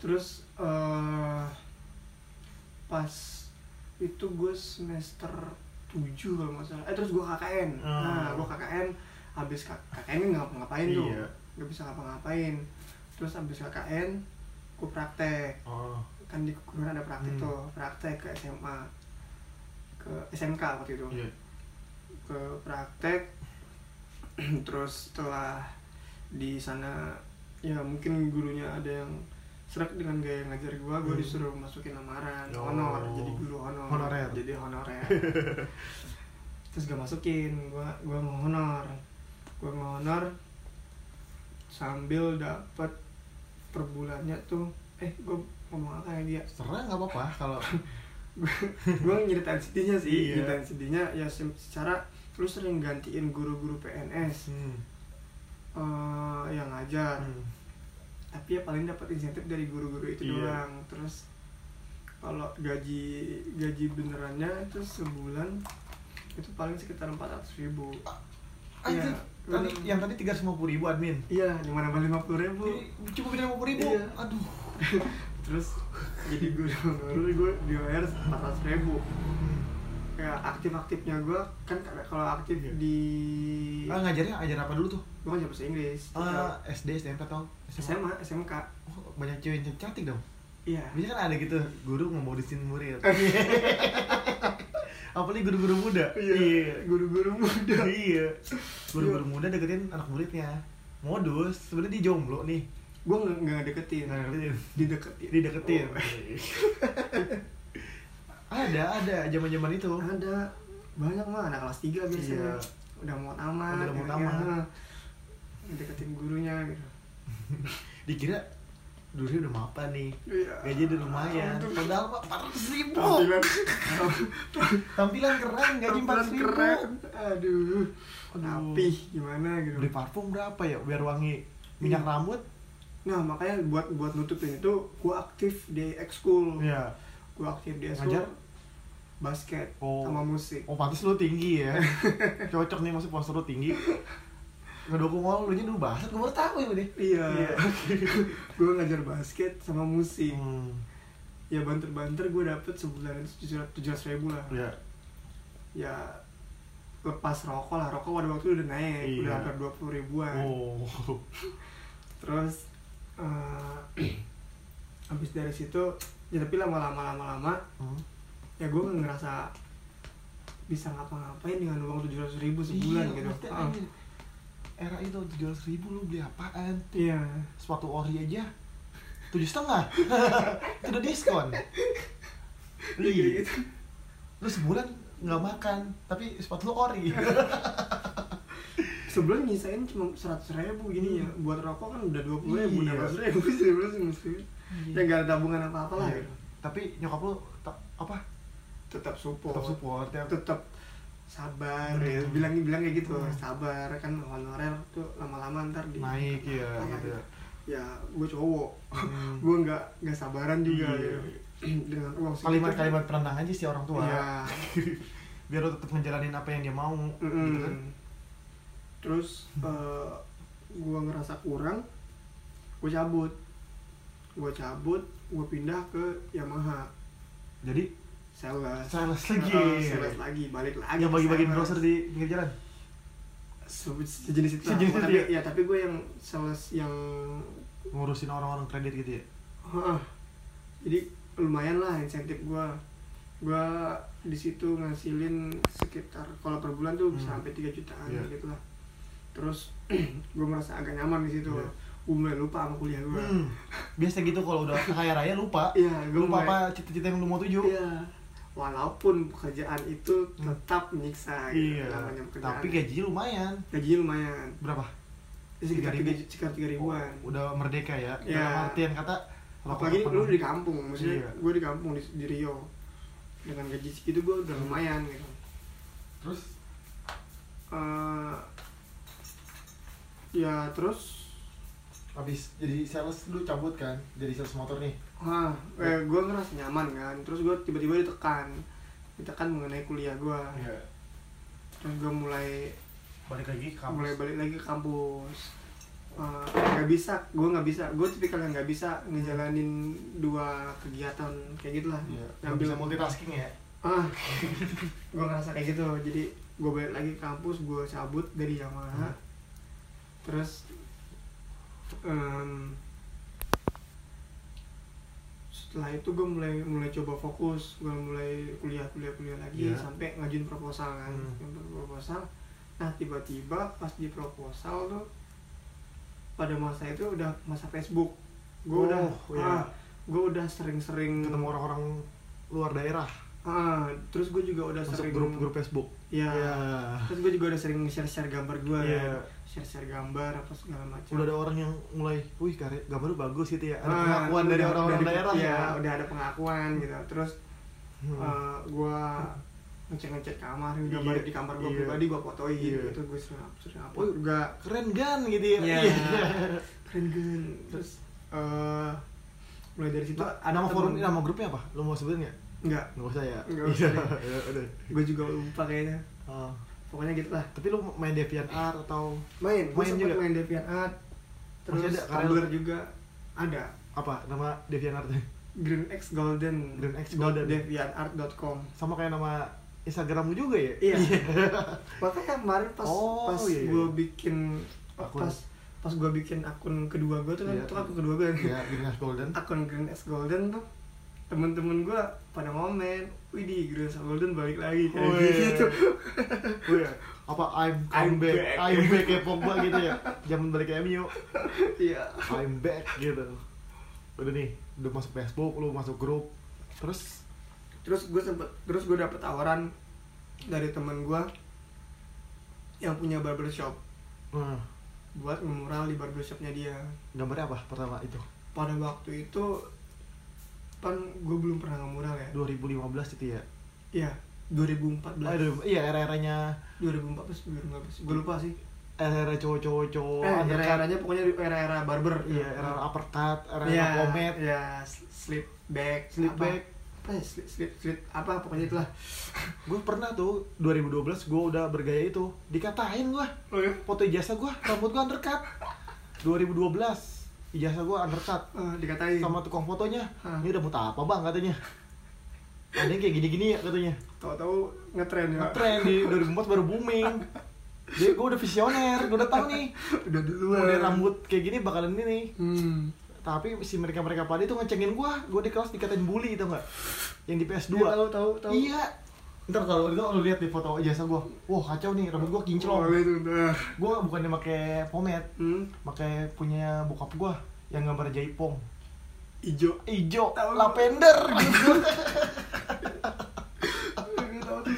Speaker 1: terus eh pas itu gue semester 7 kalau nggak salah eh terus gue KKN nah
Speaker 2: Hmm.
Speaker 1: gue KKN habis K- KKN ini nggak ngapain tuh
Speaker 2: Iya.
Speaker 1: nggak bisa ngapa-ngapain terus habis KKN gue praktek
Speaker 2: Oh.
Speaker 1: kan di keguruan ada praktek
Speaker 2: Hmm.
Speaker 1: tuh praktek ke SMA ke SMK waktu itu
Speaker 2: Iya.
Speaker 1: ke praktek terus setelah di sana ya mungkin gurunya ada yang serak dengan gaya ngajar gua gua
Speaker 2: Hmm.
Speaker 1: disuruh masukin lamaran
Speaker 2: Oh.
Speaker 1: honor jadi guru honor
Speaker 2: Honorer.
Speaker 1: jadi honorer terus gua masukin gua gua mau honor gua mau honor sambil dapat per bulannya tuh eh gua ngomong apa ya dia
Speaker 2: Serang nggak apa-apa kalau
Speaker 1: gue nyeritain sedihnya sih
Speaker 2: Iya.
Speaker 1: nyeritain sedihnya ya se- secara lu sering gantiin guru-guru PNS
Speaker 2: Hmm.
Speaker 1: eh, yang ngajar
Speaker 2: Hmm.
Speaker 1: tapi ya paling dapat insentif dari guru-guru itu
Speaker 2: Iya.
Speaker 1: doang terus kalau gaji gaji benerannya itu sebulan itu paling sekitar 400.000 ribu
Speaker 2: Anjir,
Speaker 1: Iya.
Speaker 2: tadi yang tadi tiga ratus ribu admin.
Speaker 1: iya yang mana lima puluh ribu
Speaker 2: Ini Cuma beda lima ribu.
Speaker 1: Iya.
Speaker 2: Aduh.
Speaker 1: terus jadi gue dulu gue dibayar empat ratus ribu
Speaker 2: Hmm.
Speaker 1: ya aktif aktifnya gue kan kalau aktif
Speaker 2: Iya.
Speaker 1: di
Speaker 2: Ah, ngajarnya ajar apa dulu tuh?
Speaker 1: gue ngajar bahasa Inggris
Speaker 2: Ah, SD, SMK atau SMA?
Speaker 1: SMA SMK
Speaker 2: Oh, banyak cewek yang cantik dong.
Speaker 1: iya
Speaker 2: Biasanya kan ada gitu, guru ngemodisin murid. Apalagi guru-guru muda.
Speaker 1: Iya. guru-guru muda
Speaker 2: Iya. Guru-guru muda deketin anak muridnya. Modus, sebenarnya dia jomblo nih.
Speaker 1: gue nggak nggak deketin
Speaker 2: Nah, deketin.
Speaker 1: dideketin
Speaker 2: Dideketin.
Speaker 1: Iya. Oh.
Speaker 2: ada, ada zaman-zaman itu.
Speaker 1: Oh. ada banyak mah anak kelas 3 biasanya
Speaker 2: Iya.
Speaker 1: udah mau tamat
Speaker 2: Udah mau
Speaker 1: ya,
Speaker 2: tamat.
Speaker 1: ya. deketin gurunya gitu
Speaker 2: Dikira dulunya udah mapan nih.
Speaker 1: Iya.
Speaker 2: Gaji udah lumayan.
Speaker 1: Aduh.
Speaker 2: Padahal mah 400 ribu.
Speaker 1: tampilan
Speaker 2: Tampilan keren, gaji
Speaker 1: tampilan
Speaker 2: 400 ribu.
Speaker 1: keren aduh rapi gimana gitu
Speaker 2: Beli parfum berapa ya biar wangi? Minyak
Speaker 1: Iya.
Speaker 2: rambut?
Speaker 1: nah makanya buat buat nutupin itu gua aktif di ekskul
Speaker 2: Iya.
Speaker 1: gua aktif di
Speaker 2: Ngajar?
Speaker 1: ekskul basket
Speaker 2: Oh.
Speaker 1: sama musik
Speaker 2: Oh pantas lu tinggi ya Cocok nih maksud postur lu tinggi Ngedukung lo, lu nya dulu bahasa gue baru tau ya deh
Speaker 1: iya gua ngajar basket sama musik
Speaker 2: Hmm
Speaker 1: ya banter-banter gua dapet sebulan itu tujuh ratus ribu lah
Speaker 2: Iya
Speaker 1: ya lepas rokok lah rokok pada waktu itu udah naik
Speaker 2: Iya.
Speaker 1: udah hampir dua puluh ribuan
Speaker 2: Oh
Speaker 1: terus eh habis dari situ ya tapi lama-lama lama-lama
Speaker 2: Hmm.
Speaker 1: ya gue ngerasa bisa ngapa-ngapain dengan uang tujuh ratus ribu sebulan
Speaker 2: Iya,
Speaker 1: gitu
Speaker 2: maksudnya
Speaker 1: Ah,
Speaker 2: anjing, Era itu 700 ribu lu beli apaan
Speaker 1: iya
Speaker 2: Sepatu ori aja tujuh setengah itu udah diskon
Speaker 1: Iya, kayak
Speaker 2: Iya
Speaker 1: gitu.
Speaker 2: lu sebulan nggak makan tapi sepatu lu ori
Speaker 1: sebulan nyisain cuma seratus ribu gini ya buat rokok kan udah dua puluh ribu
Speaker 2: Iya.
Speaker 1: enam ratus ribu sebulan semusim ya nggak ada tabungan apa apa lah
Speaker 2: Iya.
Speaker 1: gitu.
Speaker 2: tapi nyokap lu ta- apa
Speaker 1: tetap support
Speaker 2: tetap support ya
Speaker 1: tetap sabar
Speaker 2: Hmm.
Speaker 1: ya bilang bilang kayak gitu
Speaker 2: Hmm.
Speaker 1: sabar kan honorer tuh lama-lama ntar di
Speaker 2: naik ya
Speaker 1: Ah,
Speaker 2: gitu
Speaker 1: ya gue cowok
Speaker 2: Hmm.
Speaker 1: gue nggak nggak sabaran juga
Speaker 2: Iya.
Speaker 1: gitu. dengan uang segitu.
Speaker 2: kalimat-kalimat penenang aja sih orang tua
Speaker 1: Iya.
Speaker 2: biar lo tetap ngejalanin apa yang dia mau
Speaker 1: Mm-mm.
Speaker 2: gitu kan
Speaker 1: terus eh gue ngerasa kurang gue cabut gue cabut gue pindah ke Yamaha
Speaker 2: jadi
Speaker 1: sales
Speaker 2: sales lagi
Speaker 1: Eh, sales lagi balik lagi
Speaker 2: yang
Speaker 1: ke
Speaker 2: bagi-bagiin
Speaker 1: sales.
Speaker 2: browser di pinggir jalan
Speaker 1: Se- sejenis itu lah.
Speaker 2: Sejenis
Speaker 1: tapi
Speaker 2: itu
Speaker 1: ya tapi gue yang sales yang
Speaker 2: ngurusin orang-orang kredit gitu ya
Speaker 1: Heeh. jadi lumayan lah insentif gue gue di situ ngasilin sekitar kalau per bulan tuh bisa
Speaker 2: Hmm.
Speaker 1: sampai 3 jutaan
Speaker 2: Iya.
Speaker 1: gitu lah terus gue merasa agak nyaman di situ
Speaker 2: Iya.
Speaker 1: gue mulai lupa sama kuliah gue
Speaker 2: hmm. biasa gitu kalau udah kaya raya lupa
Speaker 1: Mm. iya gue
Speaker 2: lupa apa cita-cita yang lu mau tuju
Speaker 1: iya walaupun pekerjaan itu
Speaker 2: Hmm.
Speaker 1: tetap menyiksa gitu,
Speaker 2: Iya.
Speaker 1: namanya pekerjaan
Speaker 2: tapi gajinya lumayan
Speaker 1: gajinya lumayan
Speaker 2: berapa
Speaker 1: Ya, sekitar
Speaker 2: 3.000.
Speaker 1: tiga sekitar tiga ribuan
Speaker 2: udah merdeka ya
Speaker 1: Iya.
Speaker 2: dalam artian kata
Speaker 1: apalagi
Speaker 2: rokok
Speaker 1: lu
Speaker 2: apa-
Speaker 1: di kampung maksudnya
Speaker 2: Iya.
Speaker 1: gue di kampung di, di Rio dengan gaji segitu gue
Speaker 2: Hmm.
Speaker 1: udah lumayan gitu
Speaker 2: terus
Speaker 1: Eh, ya terus
Speaker 2: habis jadi sales lu cabut kan jadi sales motor nih
Speaker 1: ah eh,
Speaker 2: ya.
Speaker 1: gue ngerasa nyaman kan terus gue tiba-tiba ditekan ditekan mengenai kuliah gue
Speaker 2: iya
Speaker 1: terus gue mulai
Speaker 2: balik lagi ke kampus
Speaker 1: mulai balik lagi ke kampus Eh, nggak bisa gue nggak bisa gue tipikal yang nggak bisa ngejalanin dua kegiatan kayak gitulah
Speaker 2: Iya. Nggak
Speaker 1: Ngambil-
Speaker 2: bisa multitasking ya
Speaker 1: ah gue ngerasa kayak gitu jadi gue balik lagi ke kampus gue cabut dari Yamaha
Speaker 2: Hmm.
Speaker 1: terus em, setelah itu gue mulai mulai coba fokus gue mulai kuliah kuliah kuliah lagi
Speaker 2: Iya.
Speaker 1: sampai ngajuin proposal kan
Speaker 2: Hmm.
Speaker 1: Ngajuin proposal nah tiba-tiba pas di proposal tuh pada masa itu udah masa Facebook gue
Speaker 2: Oh,
Speaker 1: udah
Speaker 2: iya.
Speaker 1: gue udah sering-sering
Speaker 2: ketemu orang-orang luar daerah
Speaker 1: Ah, terus gue juga udah
Speaker 2: masuk
Speaker 1: sering
Speaker 2: grup-grup Facebook
Speaker 1: Iya.
Speaker 2: Iya.
Speaker 1: Terus gue juga udah sering share-share gambar gue ya.
Speaker 2: Iya.
Speaker 1: Share-share gambar apa segala macam.
Speaker 2: udah ada orang yang mulai wih karya gambar lu bagus gitu ya ada
Speaker 1: Ah,
Speaker 2: pengakuan dari
Speaker 1: udah-
Speaker 2: orang-orang
Speaker 1: dari-
Speaker 2: daerah
Speaker 1: Iya,
Speaker 2: ya
Speaker 1: udah ada pengakuan gitu. Terus
Speaker 2: Hmm.
Speaker 1: eh, gue ngecek-ngecek kamar, gambar
Speaker 2: Iya,
Speaker 1: di kamar gue
Speaker 2: iya.
Speaker 1: pribadi gue fotoin
Speaker 2: Iya.
Speaker 1: gitu. Gue sering up- sering upload
Speaker 2: Wih,
Speaker 1: juga.
Speaker 2: keren kan gitu ya
Speaker 1: Iya. Keren kan. Terus eh mulai dari situ
Speaker 2: Nah, nama
Speaker 1: temen-
Speaker 2: forum nama grupnya apa lu mau sebutin nggak
Speaker 1: Enggak,
Speaker 2: nggak usah ya
Speaker 1: Nggak usah.
Speaker 2: Iya, udah
Speaker 1: gue juga lupa kayaknya.
Speaker 2: Ah.
Speaker 1: Pokoknya gitu lah.
Speaker 2: tapi lu main DeviantArt atau
Speaker 1: Main, gue
Speaker 2: Main
Speaker 1: sempet
Speaker 2: juga?
Speaker 1: main DeviantArt.
Speaker 2: Masih
Speaker 1: Terus
Speaker 2: ada karya lu?
Speaker 1: Tumblr juga ada.
Speaker 2: apa nama DeviantArt
Speaker 1: Green X Golden
Speaker 2: Green X Golden.
Speaker 1: deviantart.com
Speaker 2: sama kayak nama Instagrammu juga ya
Speaker 1: Iya. makanya kemarin pas
Speaker 2: Oh,
Speaker 1: pas
Speaker 2: iya, iya.
Speaker 1: gue bikin
Speaker 2: Akun.
Speaker 1: pas pas gue bikin akun kedua gue tuh kan
Speaker 2: Iya.
Speaker 1: itu akun kedua gue
Speaker 2: Iya, Green Ash Golden
Speaker 1: akun Green X Golden tuh temen-temen gue pada ngomen Widih Green X Golden balik lagi kayak
Speaker 2: Weh.
Speaker 1: gitu
Speaker 2: Wih, Oh iya, apa I'm, I'm
Speaker 1: I'm
Speaker 2: back,
Speaker 1: back.
Speaker 2: I'm back ya Pogba gitu ya zaman balik ke MU
Speaker 1: iya
Speaker 2: I'm back gitu udah nih udah masuk Facebook lu masuk grup terus
Speaker 1: terus gue sempet terus gue dapet tawaran dari temen gue yang punya barbershop
Speaker 2: nah,
Speaker 1: buat ngemural di barbershopnya dia
Speaker 2: gambarnya apa pertama itu
Speaker 1: pada waktu itu kan gue belum pernah ngemural ya
Speaker 2: 2015 itu ya
Speaker 1: iya 2014
Speaker 2: Aduh, iya era-eranya
Speaker 1: 2014 2015 gue lupa sih
Speaker 2: era-era cowok-cowok cowok
Speaker 1: eh, era-eranya pokoknya di- era-era barber
Speaker 2: Oh, kan? iya era uppercut era
Speaker 1: Iya,
Speaker 2: komet
Speaker 1: iya, slip back
Speaker 2: Slip
Speaker 1: apa?
Speaker 2: back.
Speaker 1: apa ya, slip, slip, slip, apa pokoknya itulah
Speaker 2: gue pernah tuh 2012 gue udah bergaya itu dikatain gue
Speaker 1: oh ya
Speaker 2: foto ijazah gue rambut gue undercut 2012 ijazah gue undercut
Speaker 1: Eh, dikatain
Speaker 2: sama tukang fotonya
Speaker 1: Hah.
Speaker 2: ini udah mau apa bang katanya ada yang kayak gini-gini ya katanya
Speaker 1: tahu-tahu ngetren ya
Speaker 2: ngetren di 2004 baru booming jadi gue udah visioner gue udah tahu nih
Speaker 1: udah duluan
Speaker 2: model rambut kayak gini bakalan ini nih
Speaker 1: hmm.
Speaker 2: tapi si mereka mereka pada itu ngecengin gue gue di kelas dikatain bully tau nggak yang di PS2
Speaker 1: Iya, tahu, tahu, tahu.
Speaker 2: iya ntar kalau itu lu lihat di foto jasa gue wah kacau nih rambut gue
Speaker 1: Oh,
Speaker 2: kinclong
Speaker 1: itu udah
Speaker 2: gue bukannya pakai pomade
Speaker 1: hmm.
Speaker 2: pakai punya bokap gue yang gambar jaipong
Speaker 1: ijo
Speaker 2: ijo
Speaker 1: Tahu.
Speaker 2: lavender gitu
Speaker 1: Gua tahu tuh.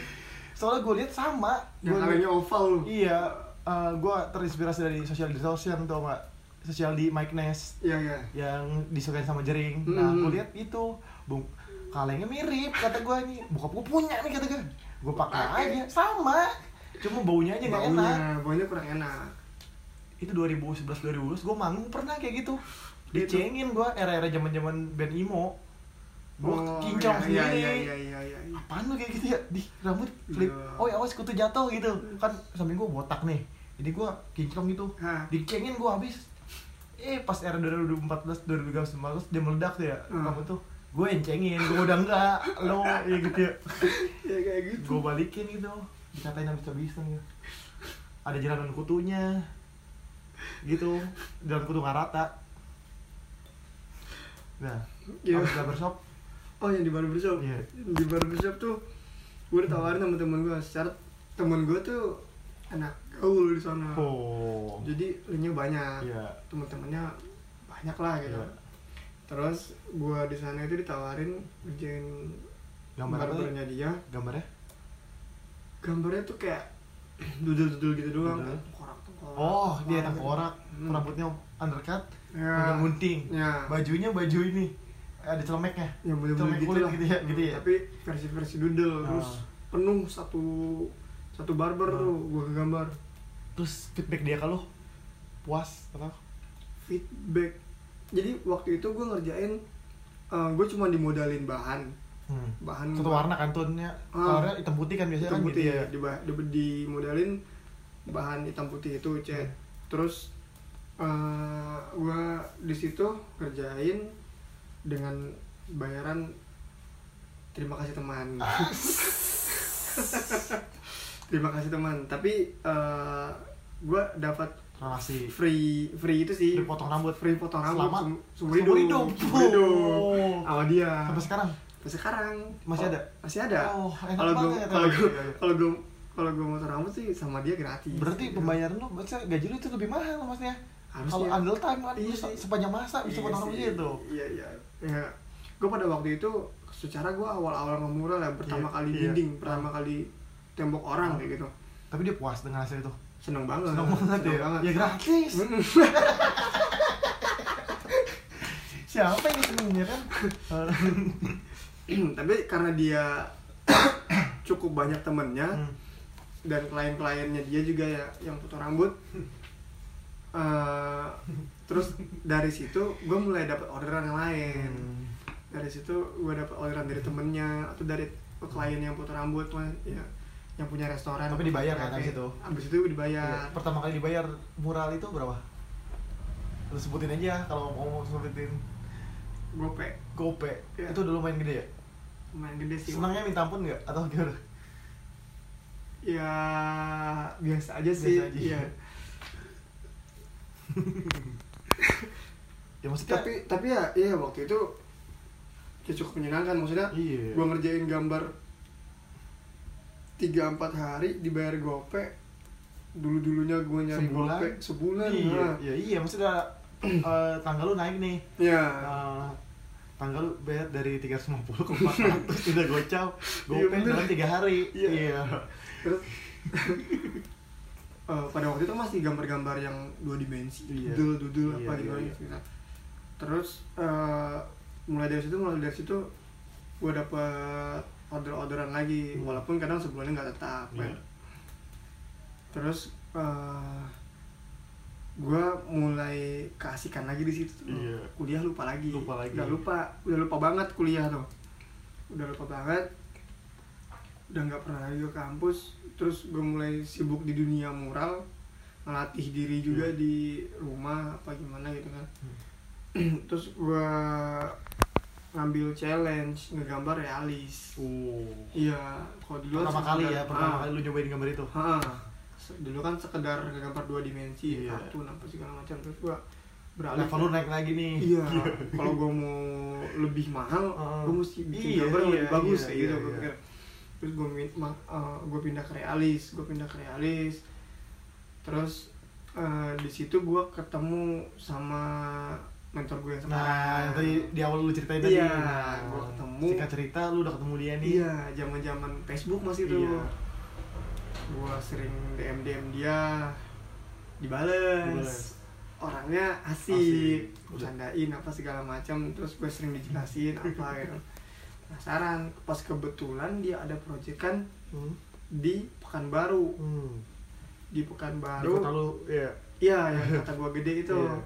Speaker 2: soalnya gue lihat sama
Speaker 1: yang
Speaker 2: Iya, Gua-
Speaker 1: alanya oval lu
Speaker 2: Iya, eh gua terinspirasi dari social distortion tau nggak? Social di Mike Ness
Speaker 1: iya iya
Speaker 2: yang disukain sama jering. Nah,
Speaker 1: Hmm.
Speaker 2: gua lihat itu, bung kalengnya mirip kata gua nih. Bokap gua punya nih kata gua. Gua pakai
Speaker 1: Pakai.
Speaker 2: aja sama. Cuma baunya aja nggak enak.
Speaker 1: baunya baunya kurang enak
Speaker 2: Itu 2011 2012 gua manggung pernah kayak gitu.
Speaker 1: Gitu.
Speaker 2: Dicengin gua era-era zaman-zaman band emo. Gua
Speaker 1: Oh,
Speaker 2: kincong
Speaker 1: iya,
Speaker 2: sendiri.
Speaker 1: iya iya iya iya iya
Speaker 2: apaan lu kayak gitu ya di rambut flip
Speaker 1: Iya.
Speaker 2: oh ya awas kutu jatuh gitu kan samping gua botak nih jadi gua kinclong gitu
Speaker 1: Hah.
Speaker 2: dicengin gua habis eh pas era 2014 2014 dia meledak tuh ya
Speaker 1: Hmm.
Speaker 2: kamu tuh gue yang cengin gue udah enggak lo ya gitu ya
Speaker 1: ya kayak gitu
Speaker 2: gue balikin gitu dikatain habis habisan gitu ada jalanan kutunya gitu jalan kutu nggak rata nah
Speaker 1: Iya.
Speaker 2: habis barbershop
Speaker 1: oh yang di barbershop
Speaker 2: Iya.
Speaker 1: di barbershop tuh gue ditawarin sama temen gue secara temen gue tuh anak gaul di sana
Speaker 2: oh
Speaker 1: jadi linknya banyak
Speaker 2: Iya.
Speaker 1: temen-temennya banyak lah gitu
Speaker 2: Iya.
Speaker 1: terus gue di sana itu ditawarin kerjain
Speaker 2: Gambar apa tadi?
Speaker 1: barbernya dia
Speaker 2: gambarnya
Speaker 1: gambarnya tuh kayak dudul-dudul gitu doang
Speaker 2: Dudul.
Speaker 1: kayak tengkorak-tengkorak.
Speaker 2: Oh, dia tengkorak,
Speaker 1: Hmm.
Speaker 2: rambutnya undercut,
Speaker 1: Ya.
Speaker 2: agak gunting.
Speaker 1: Ya.
Speaker 2: Bajunya baju ini. eh, Ada celemeknya.
Speaker 1: ya bener-bener
Speaker 2: Celemek
Speaker 1: gitu
Speaker 2: kulit
Speaker 1: lah
Speaker 2: gitu ya, gitu ya.
Speaker 1: tapi versi-versi dudel terus
Speaker 2: Ah.
Speaker 1: penuh satu satu barber
Speaker 2: Ah.
Speaker 1: tuh gue gambar
Speaker 2: Terus feedback dia kalau puas atau
Speaker 1: feedback jadi waktu itu gue ngerjain gue cuma dimodalin bahan
Speaker 2: hmm.
Speaker 1: bahan
Speaker 2: satu warna kan tonnya.
Speaker 1: Ah.
Speaker 2: Warna hitam putih kan biasanya
Speaker 1: hitam
Speaker 2: kan
Speaker 1: putih
Speaker 2: gitu ya.
Speaker 1: di, bah- di- iya. dimodalin bahan hitam putih itu cat terus eh gua di situ kerjain dengan bayaran terima kasih teman terima kasih teman tapi eh gua dapat
Speaker 2: Relasi.
Speaker 1: free free itu sih
Speaker 2: Dipotong rambut.
Speaker 1: free potong rambut
Speaker 2: Selama
Speaker 1: sum- seumur
Speaker 2: seumur
Speaker 1: hidup
Speaker 2: hidup.
Speaker 1: seumur hidup
Speaker 2: Oh.
Speaker 1: sama dia
Speaker 2: Sampai sekarang.
Speaker 1: Sampai sekarang
Speaker 2: Masih
Speaker 1: Oh,
Speaker 2: ada?
Speaker 1: masih ada
Speaker 2: Oh, enak
Speaker 1: kalau gue
Speaker 2: banget.
Speaker 1: kalau gue
Speaker 2: Iya, iya.
Speaker 1: kalau gue kalau gue motor rambut sih sama dia gratis
Speaker 2: Berarti
Speaker 1: Gitu.
Speaker 2: pembayaran lu maksudnya gaji lu itu lebih mahal maksudnya.
Speaker 1: Harusnya.
Speaker 2: Kalau andal time kan
Speaker 1: Iya
Speaker 2: lu se-
Speaker 1: sih.
Speaker 2: sepanjang masa bisa
Speaker 1: Iya
Speaker 2: potong
Speaker 1: sih.
Speaker 2: rambut gitu.
Speaker 1: iya iya ya gue pada waktu itu secara gue awal-awal ngemural ya pertama
Speaker 2: Iya,
Speaker 1: kali
Speaker 2: iya.
Speaker 1: dinding pertama kali tembok orang kayak gitu
Speaker 2: Tapi dia puas dengan hasil itu.
Speaker 1: seneng banget
Speaker 2: Seneng banget ya.
Speaker 1: banget.
Speaker 2: Ya gratis.
Speaker 1: Mm.
Speaker 2: Siapa yang seneng ya kan?
Speaker 1: tapi karena dia cukup banyak temennya
Speaker 2: Hmm.
Speaker 1: dan klien-kliennya dia juga ya yang potong rambut Eh, terus dari situ gue mulai dapat orderan yang lain
Speaker 2: Hmm.
Speaker 1: dari situ gue dapat orderan dari temennya atau dari klien yang potong rambut Mas, ya yang punya restoran
Speaker 2: Tapi dibayar kan
Speaker 1: Kafe.
Speaker 2: abis itu?
Speaker 1: abis itu dibayar
Speaker 2: Iya, Pertama kali dibayar mural itu berapa? Lu sebutin aja kalau mau sebutin
Speaker 1: gope
Speaker 2: Gope.
Speaker 1: Iya.
Speaker 2: Itu dulu main gede ya?
Speaker 1: lumayan gede sih
Speaker 2: Senangnya minta ampun nggak? Atau gimana?
Speaker 1: ya biasa aja sih
Speaker 2: Biasa aja.
Speaker 1: Iya.
Speaker 2: Ya maksudnya
Speaker 1: tapi tapi ya iya waktu itu ya cukup menyenangkan maksudnya
Speaker 2: Iya.
Speaker 1: gua ngerjain gambar tiga empat hari dibayar gope dulu dulunya gua nyari
Speaker 2: Sebulan?
Speaker 1: gope sebulan
Speaker 2: iya,
Speaker 1: nah.
Speaker 2: iya, iya, maksudnya eh, tanggal lu naik nih.
Speaker 1: ya
Speaker 2: Eh, tanggal lu bayar dari 350 ke 400 udah gocap.
Speaker 1: Iya,
Speaker 2: Gope
Speaker 1: bener.
Speaker 2: dalam 3 hari.
Speaker 1: Iya.
Speaker 2: Iya.
Speaker 1: terus eh, pada waktu itu masih gambar-gambar yang dua dimensi
Speaker 2: Iya.
Speaker 1: dudul dudul
Speaker 2: Iya,
Speaker 1: apa
Speaker 2: iya,
Speaker 1: gitu
Speaker 2: iya.
Speaker 1: gitu. terus eh, mulai dari situ mulai dari situ gua dapet order-orderan lagi
Speaker 2: Hmm.
Speaker 1: walaupun kadang sebulannya nggak tetap kan.
Speaker 2: Iya.
Speaker 1: terus eh, gua mulai keasikan lagi di situ tuh.
Speaker 2: Iya.
Speaker 1: kuliah lupa lagi
Speaker 2: Lupa lagi.
Speaker 1: udah lupa udah lupa banget kuliah tuh udah lupa banget udah nggak pernah lagi ke kampus terus gue mulai sibuk di dunia mural ngelatih diri juga
Speaker 2: Hmm.
Speaker 1: di rumah apa gimana gitu kan
Speaker 2: Hmm.
Speaker 1: terus gue ngambil challenge ngegambar realis
Speaker 2: Oh.
Speaker 1: iya kalau dulu kan
Speaker 2: Pertama kali
Speaker 1: sekedar-
Speaker 2: ya, pertama
Speaker 1: Ah,
Speaker 2: kali lu nyobain gambar itu.
Speaker 1: Ha, se- dulu kan sekedar gambar dua dimensi,
Speaker 2: Iya.
Speaker 1: kartun apa segala macam terus gua beralih.
Speaker 2: Level lu
Speaker 1: ke-
Speaker 2: naik lagi nih.
Speaker 1: Nah, Iya, kalau gua mau lebih mahal,
Speaker 2: Heeh.
Speaker 1: gua mesti bikin
Speaker 2: Iya,
Speaker 1: gambar yang
Speaker 2: iya,
Speaker 1: lebih bagus
Speaker 2: iya,
Speaker 1: kayak gitu
Speaker 2: iya,
Speaker 1: gua
Speaker 2: iya.
Speaker 1: pikir. Terus gua min- ma- eh, gua pindah ke realis, gua pindah ke realis. Terus eh, di situ gua ketemu sama mentor gue yang
Speaker 2: Nah,
Speaker 1: sekarang.
Speaker 2: tadi di awal lu ceritain tadi.
Speaker 1: Iya,
Speaker 2: Nah,
Speaker 1: gua ketemu.
Speaker 2: Singkat cerita lu udah ketemu dia nih.
Speaker 1: Iya, zaman-zaman Facebook masih tuh.
Speaker 2: Iya.
Speaker 1: Gua sering DM DM dia dibales.
Speaker 2: Dibales.
Speaker 1: Orangnya
Speaker 2: Asik.
Speaker 1: asik, bercandain apa segala macam, terus gue sering dijelasin apa gitu. Penasaran, pas kebetulan dia ada project kan
Speaker 2: Hmm.
Speaker 1: di Pekanbaru,
Speaker 2: Hmm.
Speaker 1: di
Speaker 2: Di kota
Speaker 1: Pekanbaru.
Speaker 2: lu, iya.
Speaker 1: Iya, yang kata gua gede itu.
Speaker 2: Iya.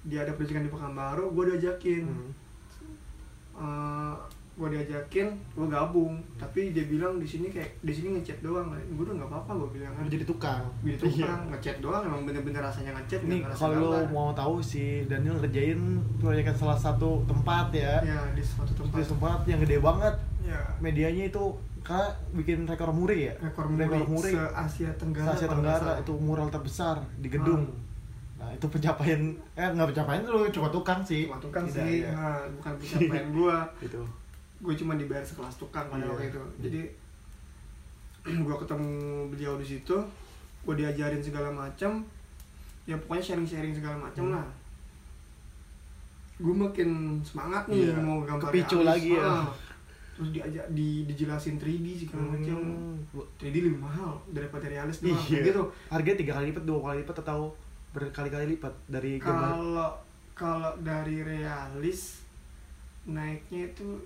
Speaker 1: Dia ada proyekan di Pekanbaru, gua diajakin.
Speaker 2: Hmm.
Speaker 1: eh gue diajakin gue gabung tapi dia bilang di sini kayak di sini ngechat doang gue udah nggak apa-apa gue bilang kan
Speaker 2: Lu jadi tukang.
Speaker 1: gitu
Speaker 2: Iya.
Speaker 1: orang ngechat doang emang bener-bener rasanya ngechat
Speaker 2: Ini
Speaker 1: nggak ngerasa
Speaker 2: kalau
Speaker 1: gambar.
Speaker 2: mau tahu si Daniel ngerjain proyekan salah satu tempat ya.
Speaker 1: ya di suatu
Speaker 2: Terus
Speaker 1: tempat
Speaker 2: Di tempat yang gede banget,
Speaker 1: ya
Speaker 2: medianya itu karena bikin rekor muri ya.
Speaker 1: rekor muri, se Asia Tenggara Hmm.
Speaker 2: Asia
Speaker 1: kalau nggak
Speaker 2: Tenggara
Speaker 1: salah.
Speaker 2: itu mural terbesar di gedung. Nah, itu pencapaian eh nggak pencapaian lu cuma tukang sih.
Speaker 1: cuma tukang
Speaker 2: Tidak,
Speaker 1: sih
Speaker 2: ya.
Speaker 1: nah, bukan pencapaian gue
Speaker 2: Gitu.
Speaker 1: gue cuma dibayar sekelas tukang pada
Speaker 2: Iya.
Speaker 1: waktu itu jadi gue ketemu beliau di situ gue diajarin segala macam ya pokoknya sharing-sharing segala macam
Speaker 2: Hmm.
Speaker 1: lah gue makin semangat nih
Speaker 2: Iya.
Speaker 1: mau gambar
Speaker 2: Kepicu
Speaker 1: realis.
Speaker 2: lagi ya.
Speaker 1: Ah. terus diajak di dijelasin 3D segala macam
Speaker 2: Hmm.
Speaker 1: 3D lebih mahal daripada realis doang
Speaker 2: Iya.
Speaker 1: kayak gitu
Speaker 2: Harganya tiga kali lipat, dua kali lipat atau berkali-kali lipat dari gambar.
Speaker 1: kalau kalau dari realis naiknya itu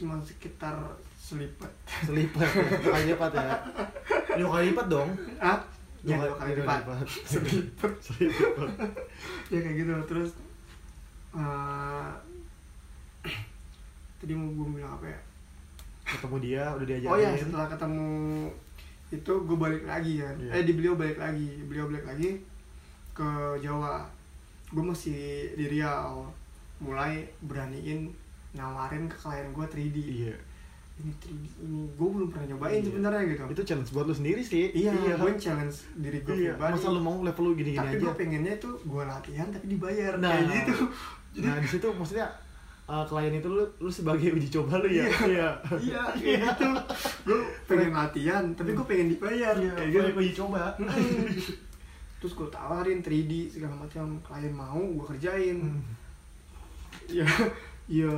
Speaker 1: cuma sekitar selipat
Speaker 2: Selipat ya, dua kali lipat ya. Dua kali lipat dong.
Speaker 1: ah ya dua kali
Speaker 2: gitu,
Speaker 1: lipat
Speaker 2: Selipat. Selipat.
Speaker 1: ya kayak gitu terus eh, tadi mau gue bilang apa ya
Speaker 2: Ketemu dia udah diajarin.
Speaker 1: oh ya setelah ketemu itu gue balik lagi kan
Speaker 2: Iya.
Speaker 1: eh di beliau balik lagi beliau balik lagi ke Jawa gue masih di Riau mulai beraniin nawarin ke klien gue 3D
Speaker 2: Iya.
Speaker 1: ini 3D ini gue belum pernah nyobain
Speaker 2: Iya.
Speaker 1: sebenarnya gitu
Speaker 2: Itu challenge buat lu sendiri sih.
Speaker 1: iya, gue challenge diri gue
Speaker 2: Iya.
Speaker 1: pribadi
Speaker 2: Masa lu mau level lu gini-gini
Speaker 1: tapi
Speaker 2: aja.
Speaker 1: gue pengennya itu gue latihan tapi dibayar
Speaker 2: Nah.
Speaker 1: kayak gitu Jadi-
Speaker 2: Nah, di situ maksudnya uh, klien itu lu, lu sebagai uji coba lu ya.
Speaker 1: Iya. iya kayak gitu gue
Speaker 2: Iya.
Speaker 1: pengen latihan tapi gue pengen dibayar kayak gitu
Speaker 2: Sebagai uji coba.
Speaker 1: terus gue tawarin 3D segala macam klien mau gue kerjain
Speaker 2: Hmm.
Speaker 1: ya ya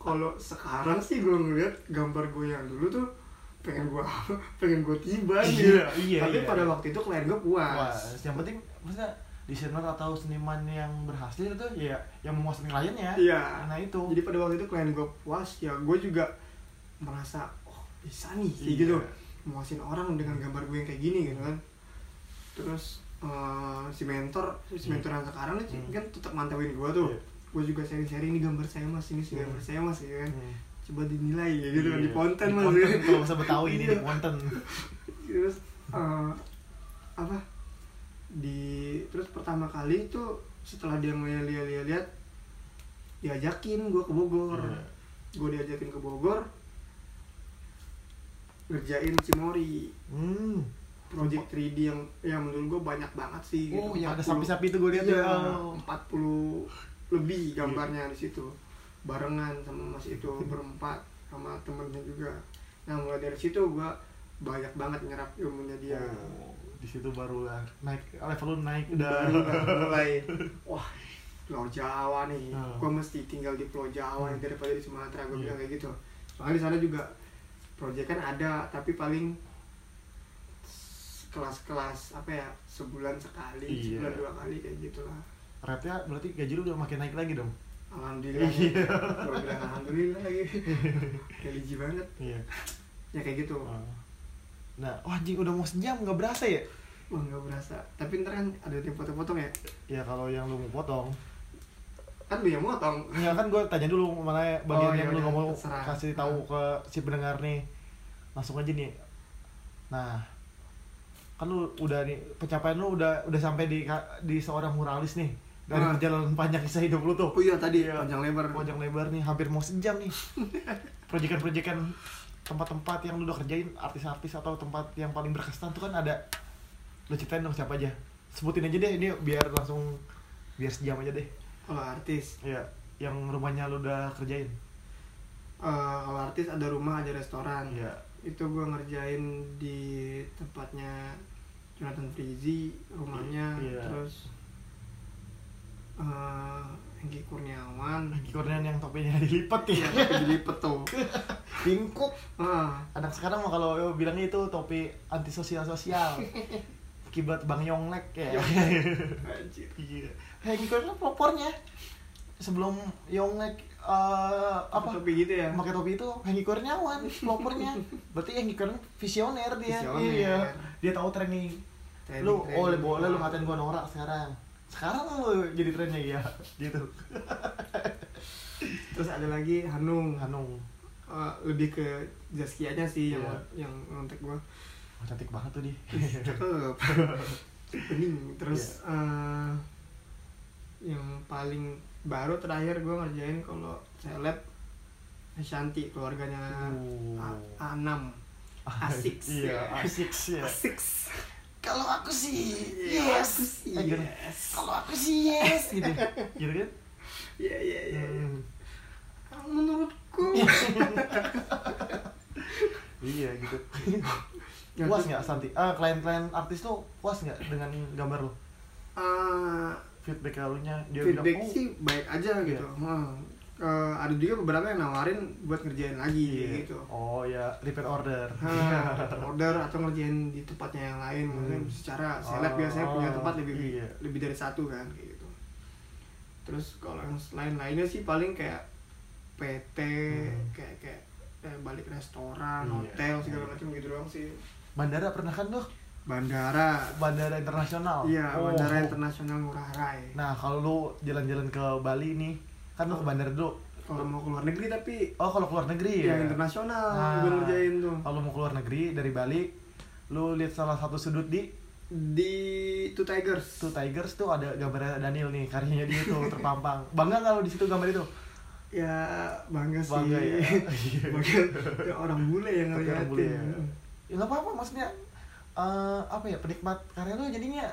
Speaker 1: kalau sekarang sih gue ngeliat gambar gue yang dulu tuh pengen gue pengen gue tiba nih
Speaker 2: Iya, iya,
Speaker 1: tapi
Speaker 2: iya.
Speaker 1: pada waktu itu klien gue
Speaker 2: Wah,
Speaker 1: puas
Speaker 2: yang penting maksudnya desainer atau seniman yang berhasil itu ya yang memuaskan kliennya.
Speaker 1: Iya.
Speaker 2: Nah, itu.
Speaker 1: jadi pada waktu itu klien gue puas ya gue juga merasa oh bisa nih kayak
Speaker 2: Iya.
Speaker 1: gitu muasin orang dengan gambar gue yang kayak gini gitu kan terus eh, si mentor si
Speaker 2: Iya.
Speaker 1: mentor yang sekarang nih
Speaker 2: Hmm.
Speaker 1: kan tetap mantauin gue tuh
Speaker 2: Iya.
Speaker 1: gue juga sharing-sharing ini gambar saya mas ini si
Speaker 2: Iya.
Speaker 1: gambar saya mas ya kan
Speaker 2: Hmm.
Speaker 1: coba dinilai ya gitu kan
Speaker 2: Iya.
Speaker 1: di konten
Speaker 2: Di
Speaker 1: mas
Speaker 2: Ponten, Kalau bahasa Betawi ini di
Speaker 1: Iya.
Speaker 2: Ponten.
Speaker 1: terus eh, apa di terus pertama kali itu setelah dia ngeliat lihat lihat diajakin gue ke Bogor
Speaker 2: Iya.
Speaker 1: gue diajakin ke Bogor ngerjain Cimori
Speaker 2: Hmm.
Speaker 1: project 3D yang yang menurut gue banyak banget sih gitu.
Speaker 2: Oh, yang ada
Speaker 1: 40
Speaker 2: sapi-sapi itu gue lihat
Speaker 1: Iya,
Speaker 2: ya.
Speaker 1: 40 lebih gambarnya di situ. Barengan sama Mas itu
Speaker 2: Hmm.
Speaker 1: berempat sama temennya juga. Nah, mulai dari situ gua banyak banget nyerap ilmunya dia.
Speaker 2: Oh, di situ baru lah naik level lu naik Nah, udah.
Speaker 1: Baru kan mulai wah Pulau Jawa nih,
Speaker 2: Hmm.
Speaker 1: gua mesti tinggal di Pulau Jawa nih, daripada di Sumatera, gua
Speaker 2: Iya.
Speaker 1: bilang kayak gitu. Soalnya di sana juga proyek kan ada, tapi paling s- kelas-kelas apa ya sebulan sekali,
Speaker 2: Iya.
Speaker 1: sebulan dua kali kayak gitulah.
Speaker 2: Rate-nya berarti gaji lu udah makin naik lagi dong.
Speaker 1: Alhamdulillah.
Speaker 2: Iya.
Speaker 1: Gua bilang alhamdulillah lagi. Religi banget.
Speaker 2: Iya.
Speaker 1: Ya kayak gitu.
Speaker 2: Ah. Nah, oh anjing udah mau sejam nggak berasa ya?
Speaker 1: Wah nggak berasa. Tapi ntar kan ada yang potong-potong ya.
Speaker 2: Ya kalau yang lu mau potong.
Speaker 1: Kan dia yang motong.
Speaker 2: Ya kan gue tanya dulu mana bagian
Speaker 1: Oh,
Speaker 2: yang
Speaker 1: yaudah,
Speaker 2: lu nggak mau
Speaker 1: terserah. Nah.
Speaker 2: kasih tahu ke si pendengar nih. Langsung aja nih. Nah, kan lu udah nih pencapaian lu udah udah sampai di ka- di seorang muralis nih dari
Speaker 1: Ah.
Speaker 2: perjalanan panjang kisah hidup lu tuh.
Speaker 1: Oh iya tadi
Speaker 2: Iya.
Speaker 1: panjang lebar.
Speaker 2: panjang lebar nih hampir mau sejam nih proyekan-proyekan tempat-tempat yang lu udah kerjain artis-artis atau tempat yang paling berkesan tuh kan ada lu ceritain dong siapa aja sebutin aja deh ini biar langsung biar sejam aja deh
Speaker 1: Kalau artis,
Speaker 2: ya yang rumahnya lu udah kerjain
Speaker 1: eh, kalau artis ada rumah ada restoran.
Speaker 2: ya
Speaker 1: Itu gua ngerjain di tempatnya Jonathan Frizi, rumahnya.
Speaker 2: Iya.
Speaker 1: Terus eh Hengki Kurniawan.
Speaker 2: Anggi Kurniawan yang topinya dilipet ya
Speaker 1: Iya, tapi dilipet tuh.
Speaker 2: bingkuk
Speaker 1: Ah,
Speaker 2: anak sekarang mah kalau bilangnya itu topi antisosial sosial akibat Bang Yonglek ya
Speaker 1: anjir.
Speaker 2: Iya. Hengki Kurniawan pelopornya. Sebelum Yonglek eh apa?
Speaker 1: Tapi gitu ya.
Speaker 2: Pakai topi itu Hengki Kurniawan pelopornya. Berarti Hengki Kurniawan visioner dia.
Speaker 1: Visioner.
Speaker 2: Iya. Dia tahu training.
Speaker 1: Training,
Speaker 2: lu
Speaker 1: training.
Speaker 2: boleh boleh lu ngatain gua norak sekarang. Sekarang lu jadi trennya ya. Gitu.
Speaker 1: Terus ada lagi Hanung.
Speaker 2: Hanung.
Speaker 1: Eh, lebih ke Zaskianya sih yang
Speaker 2: Iya.
Speaker 1: yang ngontek gua.
Speaker 2: Wah, cantik banget tuh dia.
Speaker 1: Cakep. Bening. Terus
Speaker 2: Iya.
Speaker 1: eh, yang paling baru terakhir gua ngerjain kalau seleb Shanti keluarganya
Speaker 2: Oh.
Speaker 1: A- Anam. Asik sih.
Speaker 2: Iya, asik sih. ya.
Speaker 1: Asik.
Speaker 2: Kalau aku sih
Speaker 1: Aku
Speaker 2: yes.
Speaker 1: sih,
Speaker 2: Eh, gitu.
Speaker 1: yes.
Speaker 2: Kalau aku sih yes gitu. Gitu kan?
Speaker 1: Iya iya iya. iya.
Speaker 2: Hmm.
Speaker 1: Menurutku.
Speaker 2: Iya gitu. puas nggak Santi? Ah klien-klien artis tuh puas nggak dengan gambar lo?
Speaker 1: Eh,
Speaker 2: Feedback kalunya dia
Speaker 1: feedback
Speaker 2: bilang, oh,
Speaker 1: sih baik aja
Speaker 2: Iya.
Speaker 1: gitu. Heeh. Eh, ada juga beberapa yang nawarin buat ngerjain lagi
Speaker 2: iya.
Speaker 1: gitu.
Speaker 2: Oh ya repeat order. Iya.
Speaker 1: Hah, order atau ngerjain di tempatnya yang lain mungkin
Speaker 2: Hmm.
Speaker 1: secara seleb
Speaker 2: Oh,
Speaker 1: biasanya punya tempat lebih
Speaker 2: iya.
Speaker 1: lebih dari satu kan kayak gitu. Terus kalau yang lain-lainnya sih paling kayak PT
Speaker 2: Hmm.
Speaker 1: kayak kayak kayak balik restoran,
Speaker 2: Iya.
Speaker 1: hotel segala macam gitu doang sih.
Speaker 2: Bandara pernah kan lo?
Speaker 1: Bandara.
Speaker 2: Bandara internasional.
Speaker 1: Iya,
Speaker 2: Oh.
Speaker 1: Bandara Internasional Ngurah Rai.
Speaker 2: Nah kalau lu jalan-jalan ke Bali nih, kan lu ke bandara dulu.
Speaker 1: Kalau mau keluar negeri tapi
Speaker 2: Oh kalau keluar negeri ya.
Speaker 1: yang internasional
Speaker 2: Nah,
Speaker 1: gue ngerjain tuh
Speaker 2: Kalau mau keluar negeri dari Bali, lu lihat salah satu sudut di
Speaker 1: di Two Tigers
Speaker 2: tuh Tigers tuh ada gambarnya Daniel nih karyanya dia tuh terpampang. Bangga nggak lu di situ gambar itu?
Speaker 1: ya bangga sih
Speaker 2: Bangga ya.
Speaker 1: Bangga. Ya, orang bule yang
Speaker 2: Tapi orang
Speaker 1: ngeliatin Iya.
Speaker 2: bule ya. ya nggak apa-apa maksudnya eh, apa ya penikmat karya lu jadinya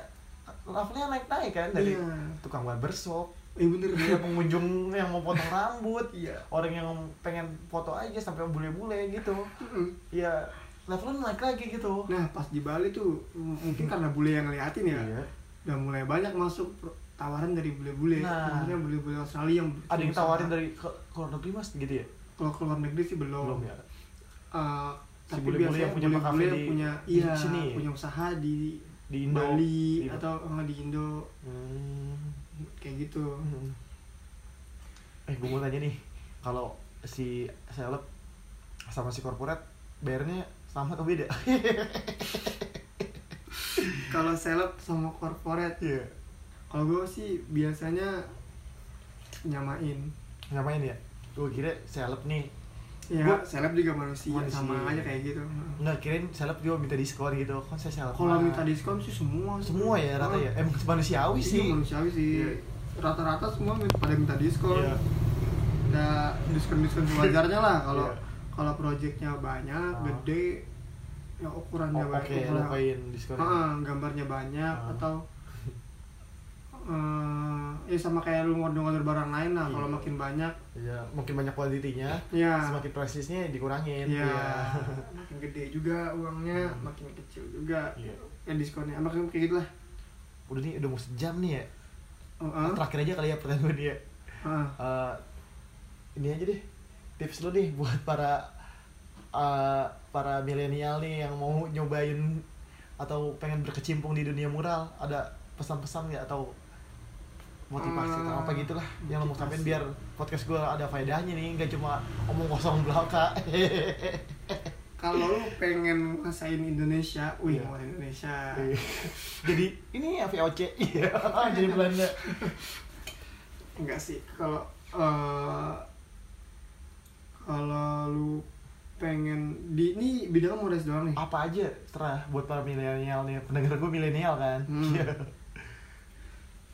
Speaker 2: levelnya naik-naik kan dari
Speaker 1: Iya.
Speaker 2: tukang barbershop
Speaker 1: eh bener
Speaker 2: dia pengunjung yang mau potong rambut
Speaker 1: Iya.
Speaker 2: orang yang pengen foto aja sampai bule-bule gitu
Speaker 1: Mm-mm.
Speaker 2: ya levelnya naik lagi gitu
Speaker 1: nah pas di Bali tuh m- mungkin karena bule yang ngeliatin ya
Speaker 2: Iya.
Speaker 1: udah mulai banyak masuk pro- tawaran dari bule-bule
Speaker 2: Nah.
Speaker 1: maksudnya bule-bule Australia yang
Speaker 2: ada yang tawarin
Speaker 1: berusaha.
Speaker 2: dari ke ke luar negeri mas gitu ya
Speaker 1: kalau keluar negeri sih belum,
Speaker 2: belum ya
Speaker 1: Eh,
Speaker 2: Si
Speaker 1: tapi
Speaker 2: bule-bule
Speaker 1: biasanya
Speaker 2: yang punya
Speaker 1: bule-bule
Speaker 2: kafe
Speaker 1: yang
Speaker 2: di-
Speaker 1: punya
Speaker 2: di
Speaker 1: iya
Speaker 2: sini.
Speaker 1: punya usaha di
Speaker 2: di Indo Iya.
Speaker 1: Bali
Speaker 2: Di-
Speaker 1: atau eh, di Indo
Speaker 2: Hmm.
Speaker 1: kayak gitu
Speaker 2: Hmm. Eh, gue mau tanya nih, kalau si seleb sama si korporat bayarnya sama atau beda?
Speaker 1: kalau seleb sama corporate
Speaker 2: Iya.
Speaker 1: kalau gue sih biasanya nyamain
Speaker 2: Ngapain ya? Gue kira seleb nih,
Speaker 1: ya
Speaker 2: Gua-
Speaker 1: seleb juga manusia,
Speaker 2: Manusia.
Speaker 1: sama aja kayak gitu
Speaker 2: nggak kirain seleb juga minta diskon gitu, kan saya seleb.
Speaker 1: kalau
Speaker 2: mah.
Speaker 1: minta diskon sih semua
Speaker 2: semua ya rata ya, emang manusiawi
Speaker 1: sih
Speaker 2: sih.
Speaker 1: manusiawi sih
Speaker 2: Iya.
Speaker 1: rata-rata semua min- pada minta diskon
Speaker 2: Iya.
Speaker 1: ada diskon-diskon sewajarnya lah kalau
Speaker 2: Iya.
Speaker 1: kalau proyeknya banyak,
Speaker 2: Ah.
Speaker 1: gede, ya ukurannya
Speaker 2: Oh, oke,
Speaker 1: banyak, ukuran-
Speaker 2: lupain diskon.
Speaker 1: Ah, gambarnya banyak
Speaker 2: Ah.
Speaker 1: atau eh ya sama kayak lu ngorder-ngorder barang lain lah, kalau
Speaker 2: Iya.
Speaker 1: makin banyak,
Speaker 2: Iya, makin banyak kuantitinya,
Speaker 1: ya,
Speaker 2: semakin presisnya dikurangin.
Speaker 1: ya,
Speaker 2: Iya.
Speaker 1: makin gede juga uangnya,
Speaker 2: Hmm.
Speaker 1: makin kecil juga,
Speaker 2: Iya.
Speaker 1: ya diskonnya, makin kayak gitu lah.
Speaker 2: Udah nih, udah mau sejam nih ya.
Speaker 1: Heeh.
Speaker 2: Terakhir aja kali ya pertanyaan gue dia.
Speaker 1: Heeh.
Speaker 2: Eh, ini aja deh tips lu nih buat para eh, para milenial nih yang mau nyobain atau pengen berkecimpung di dunia mural ada pesan-pesan nggak atau motivasi atau apa gitulah yang lu mau
Speaker 1: Hmm, Motivasi.
Speaker 2: sampein biar podcast gue ada faedahnya nih nggak cuma omong kosong belaka
Speaker 1: Kalau lu pengen nguasain Indonesia, wih
Speaker 2: Iya.
Speaker 1: nguasain Indonesia.
Speaker 2: jadi ini ya VOC Iya, jadi Belanda
Speaker 1: Enggak sih, kalau eh, kalau lu pengen di ini bidang murais doang nih.
Speaker 2: apa aja terah buat para milenial nih pendengar gue milenial kan
Speaker 1: Hmm.
Speaker 2: Iya.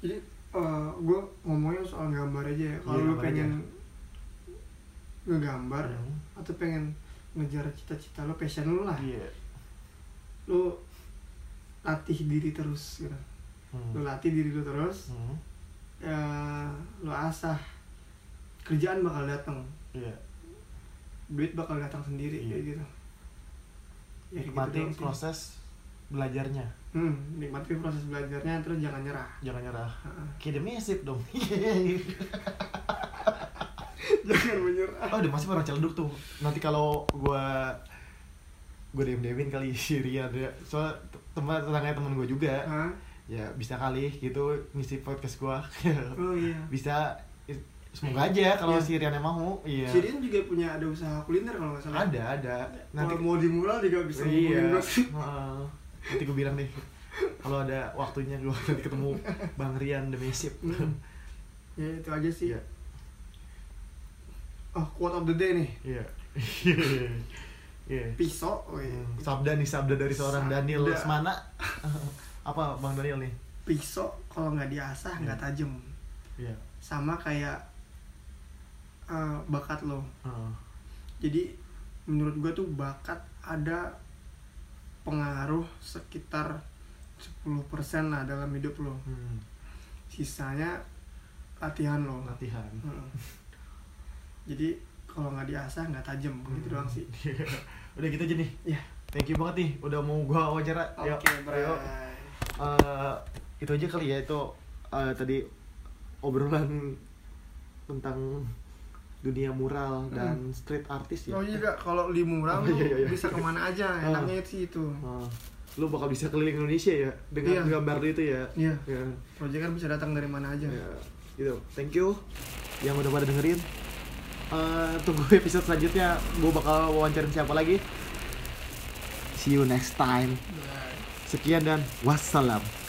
Speaker 1: Jadi gue ngomongnya soal gambar aja ya. Kalau
Speaker 2: Iya,
Speaker 1: lu
Speaker 2: gambar
Speaker 1: pengen ngegambar
Speaker 2: Hmm.
Speaker 1: atau pengen ngejar cita-cita lu, passion lu lah.
Speaker 2: iya
Speaker 1: Lu latih diri terus gitu.
Speaker 2: Hmm.
Speaker 1: Lu latih diri lu terus,
Speaker 2: Hmm.
Speaker 1: ya lu asah. Kerjaan bakal datang,
Speaker 2: Iya.
Speaker 1: duit bakal datang sendiri
Speaker 2: Iya.
Speaker 1: kayak gitu. Ya, kayak
Speaker 2: Nikmati
Speaker 1: doang sih.
Speaker 2: proses belajarnya,
Speaker 1: Hmm, nikmati proses belajarnya terus jangan nyerah.
Speaker 2: jangan nyerah.
Speaker 1: Heeh.
Speaker 2: Kayak mesip dong.
Speaker 1: jangan menyerah.
Speaker 2: oh, udah pasti orang celduk tuh. Nanti kalau gua gua dm demin kali si Rian ya. Soalnya te- teman tetangganya teman gua juga.
Speaker 1: Hah?
Speaker 2: Ya bisa kali gitu ngisi podcast gua.
Speaker 1: Oh iya.
Speaker 2: bisa semoga aja kalau
Speaker 1: Iya.
Speaker 2: si Rian yang mau. Iya.
Speaker 1: Si Rian juga punya ada usaha kuliner kalau nggak salah.
Speaker 2: Ada, ada.
Speaker 1: Nanti mau dimural juga bisa ngomongin
Speaker 2: iya.
Speaker 1: gua sih.
Speaker 2: Heeh. Nanti gue bilang deh kalau ada waktunya gue nanti ketemu Bang Rian The Mesip.
Speaker 1: Hmm. Ya itu aja sih.
Speaker 2: Iya.
Speaker 1: Oh, quote of the day nih.
Speaker 2: Iya. Iya. Iya.
Speaker 1: Pisau. Oh, iya.
Speaker 2: Sabda nih sabda dari seorang
Speaker 1: Sabda.
Speaker 2: Daniel Lesmana. Apa Bang Daniel nih?
Speaker 1: Pisau kalau nggak diasah nggak
Speaker 2: Hmm.
Speaker 1: tajam.
Speaker 2: Iya.
Speaker 1: Sama kayak eh, bakat lo. Jadi menurut gua tuh bakat ada pengaruh sekitar 10% lah dalam hidup lo.
Speaker 2: Hmm.
Speaker 1: Sisanya latihan lo.
Speaker 2: Latihan.
Speaker 1: Heeh. Jadi kalau nggak diasah nggak tajam gitu doang sih.
Speaker 2: Iya. Udah gitu aja nih.
Speaker 1: Ya.
Speaker 2: Thank you banget nih udah mau gua wawancara.
Speaker 1: Oke, bro.
Speaker 2: Eh, itu aja kali ya itu eh, tadi obrolan tentang dunia mural dan street artis ya.
Speaker 1: Hmm. Oh iya Kak, kalau di murah
Speaker 2: Oh,
Speaker 1: lu
Speaker 2: iya, iya, iya.
Speaker 1: bisa kemana aja,
Speaker 2: Ah.
Speaker 1: enaknya sih itu.
Speaker 2: Eh, lu bakal bisa keliling Indonesia ya dengan
Speaker 1: Iya.
Speaker 2: gambar lu itu ya.
Speaker 1: Iya,
Speaker 2: Ya.
Speaker 1: proyek kan bisa datang dari mana aja.
Speaker 2: Ya, gitu. Thank you yang udah pada dengerin. Eh, tunggu episode selanjutnya. Gue bakal wawancarin siapa lagi. See you next time.
Speaker 1: Bye.
Speaker 2: Sekian dan wassalam.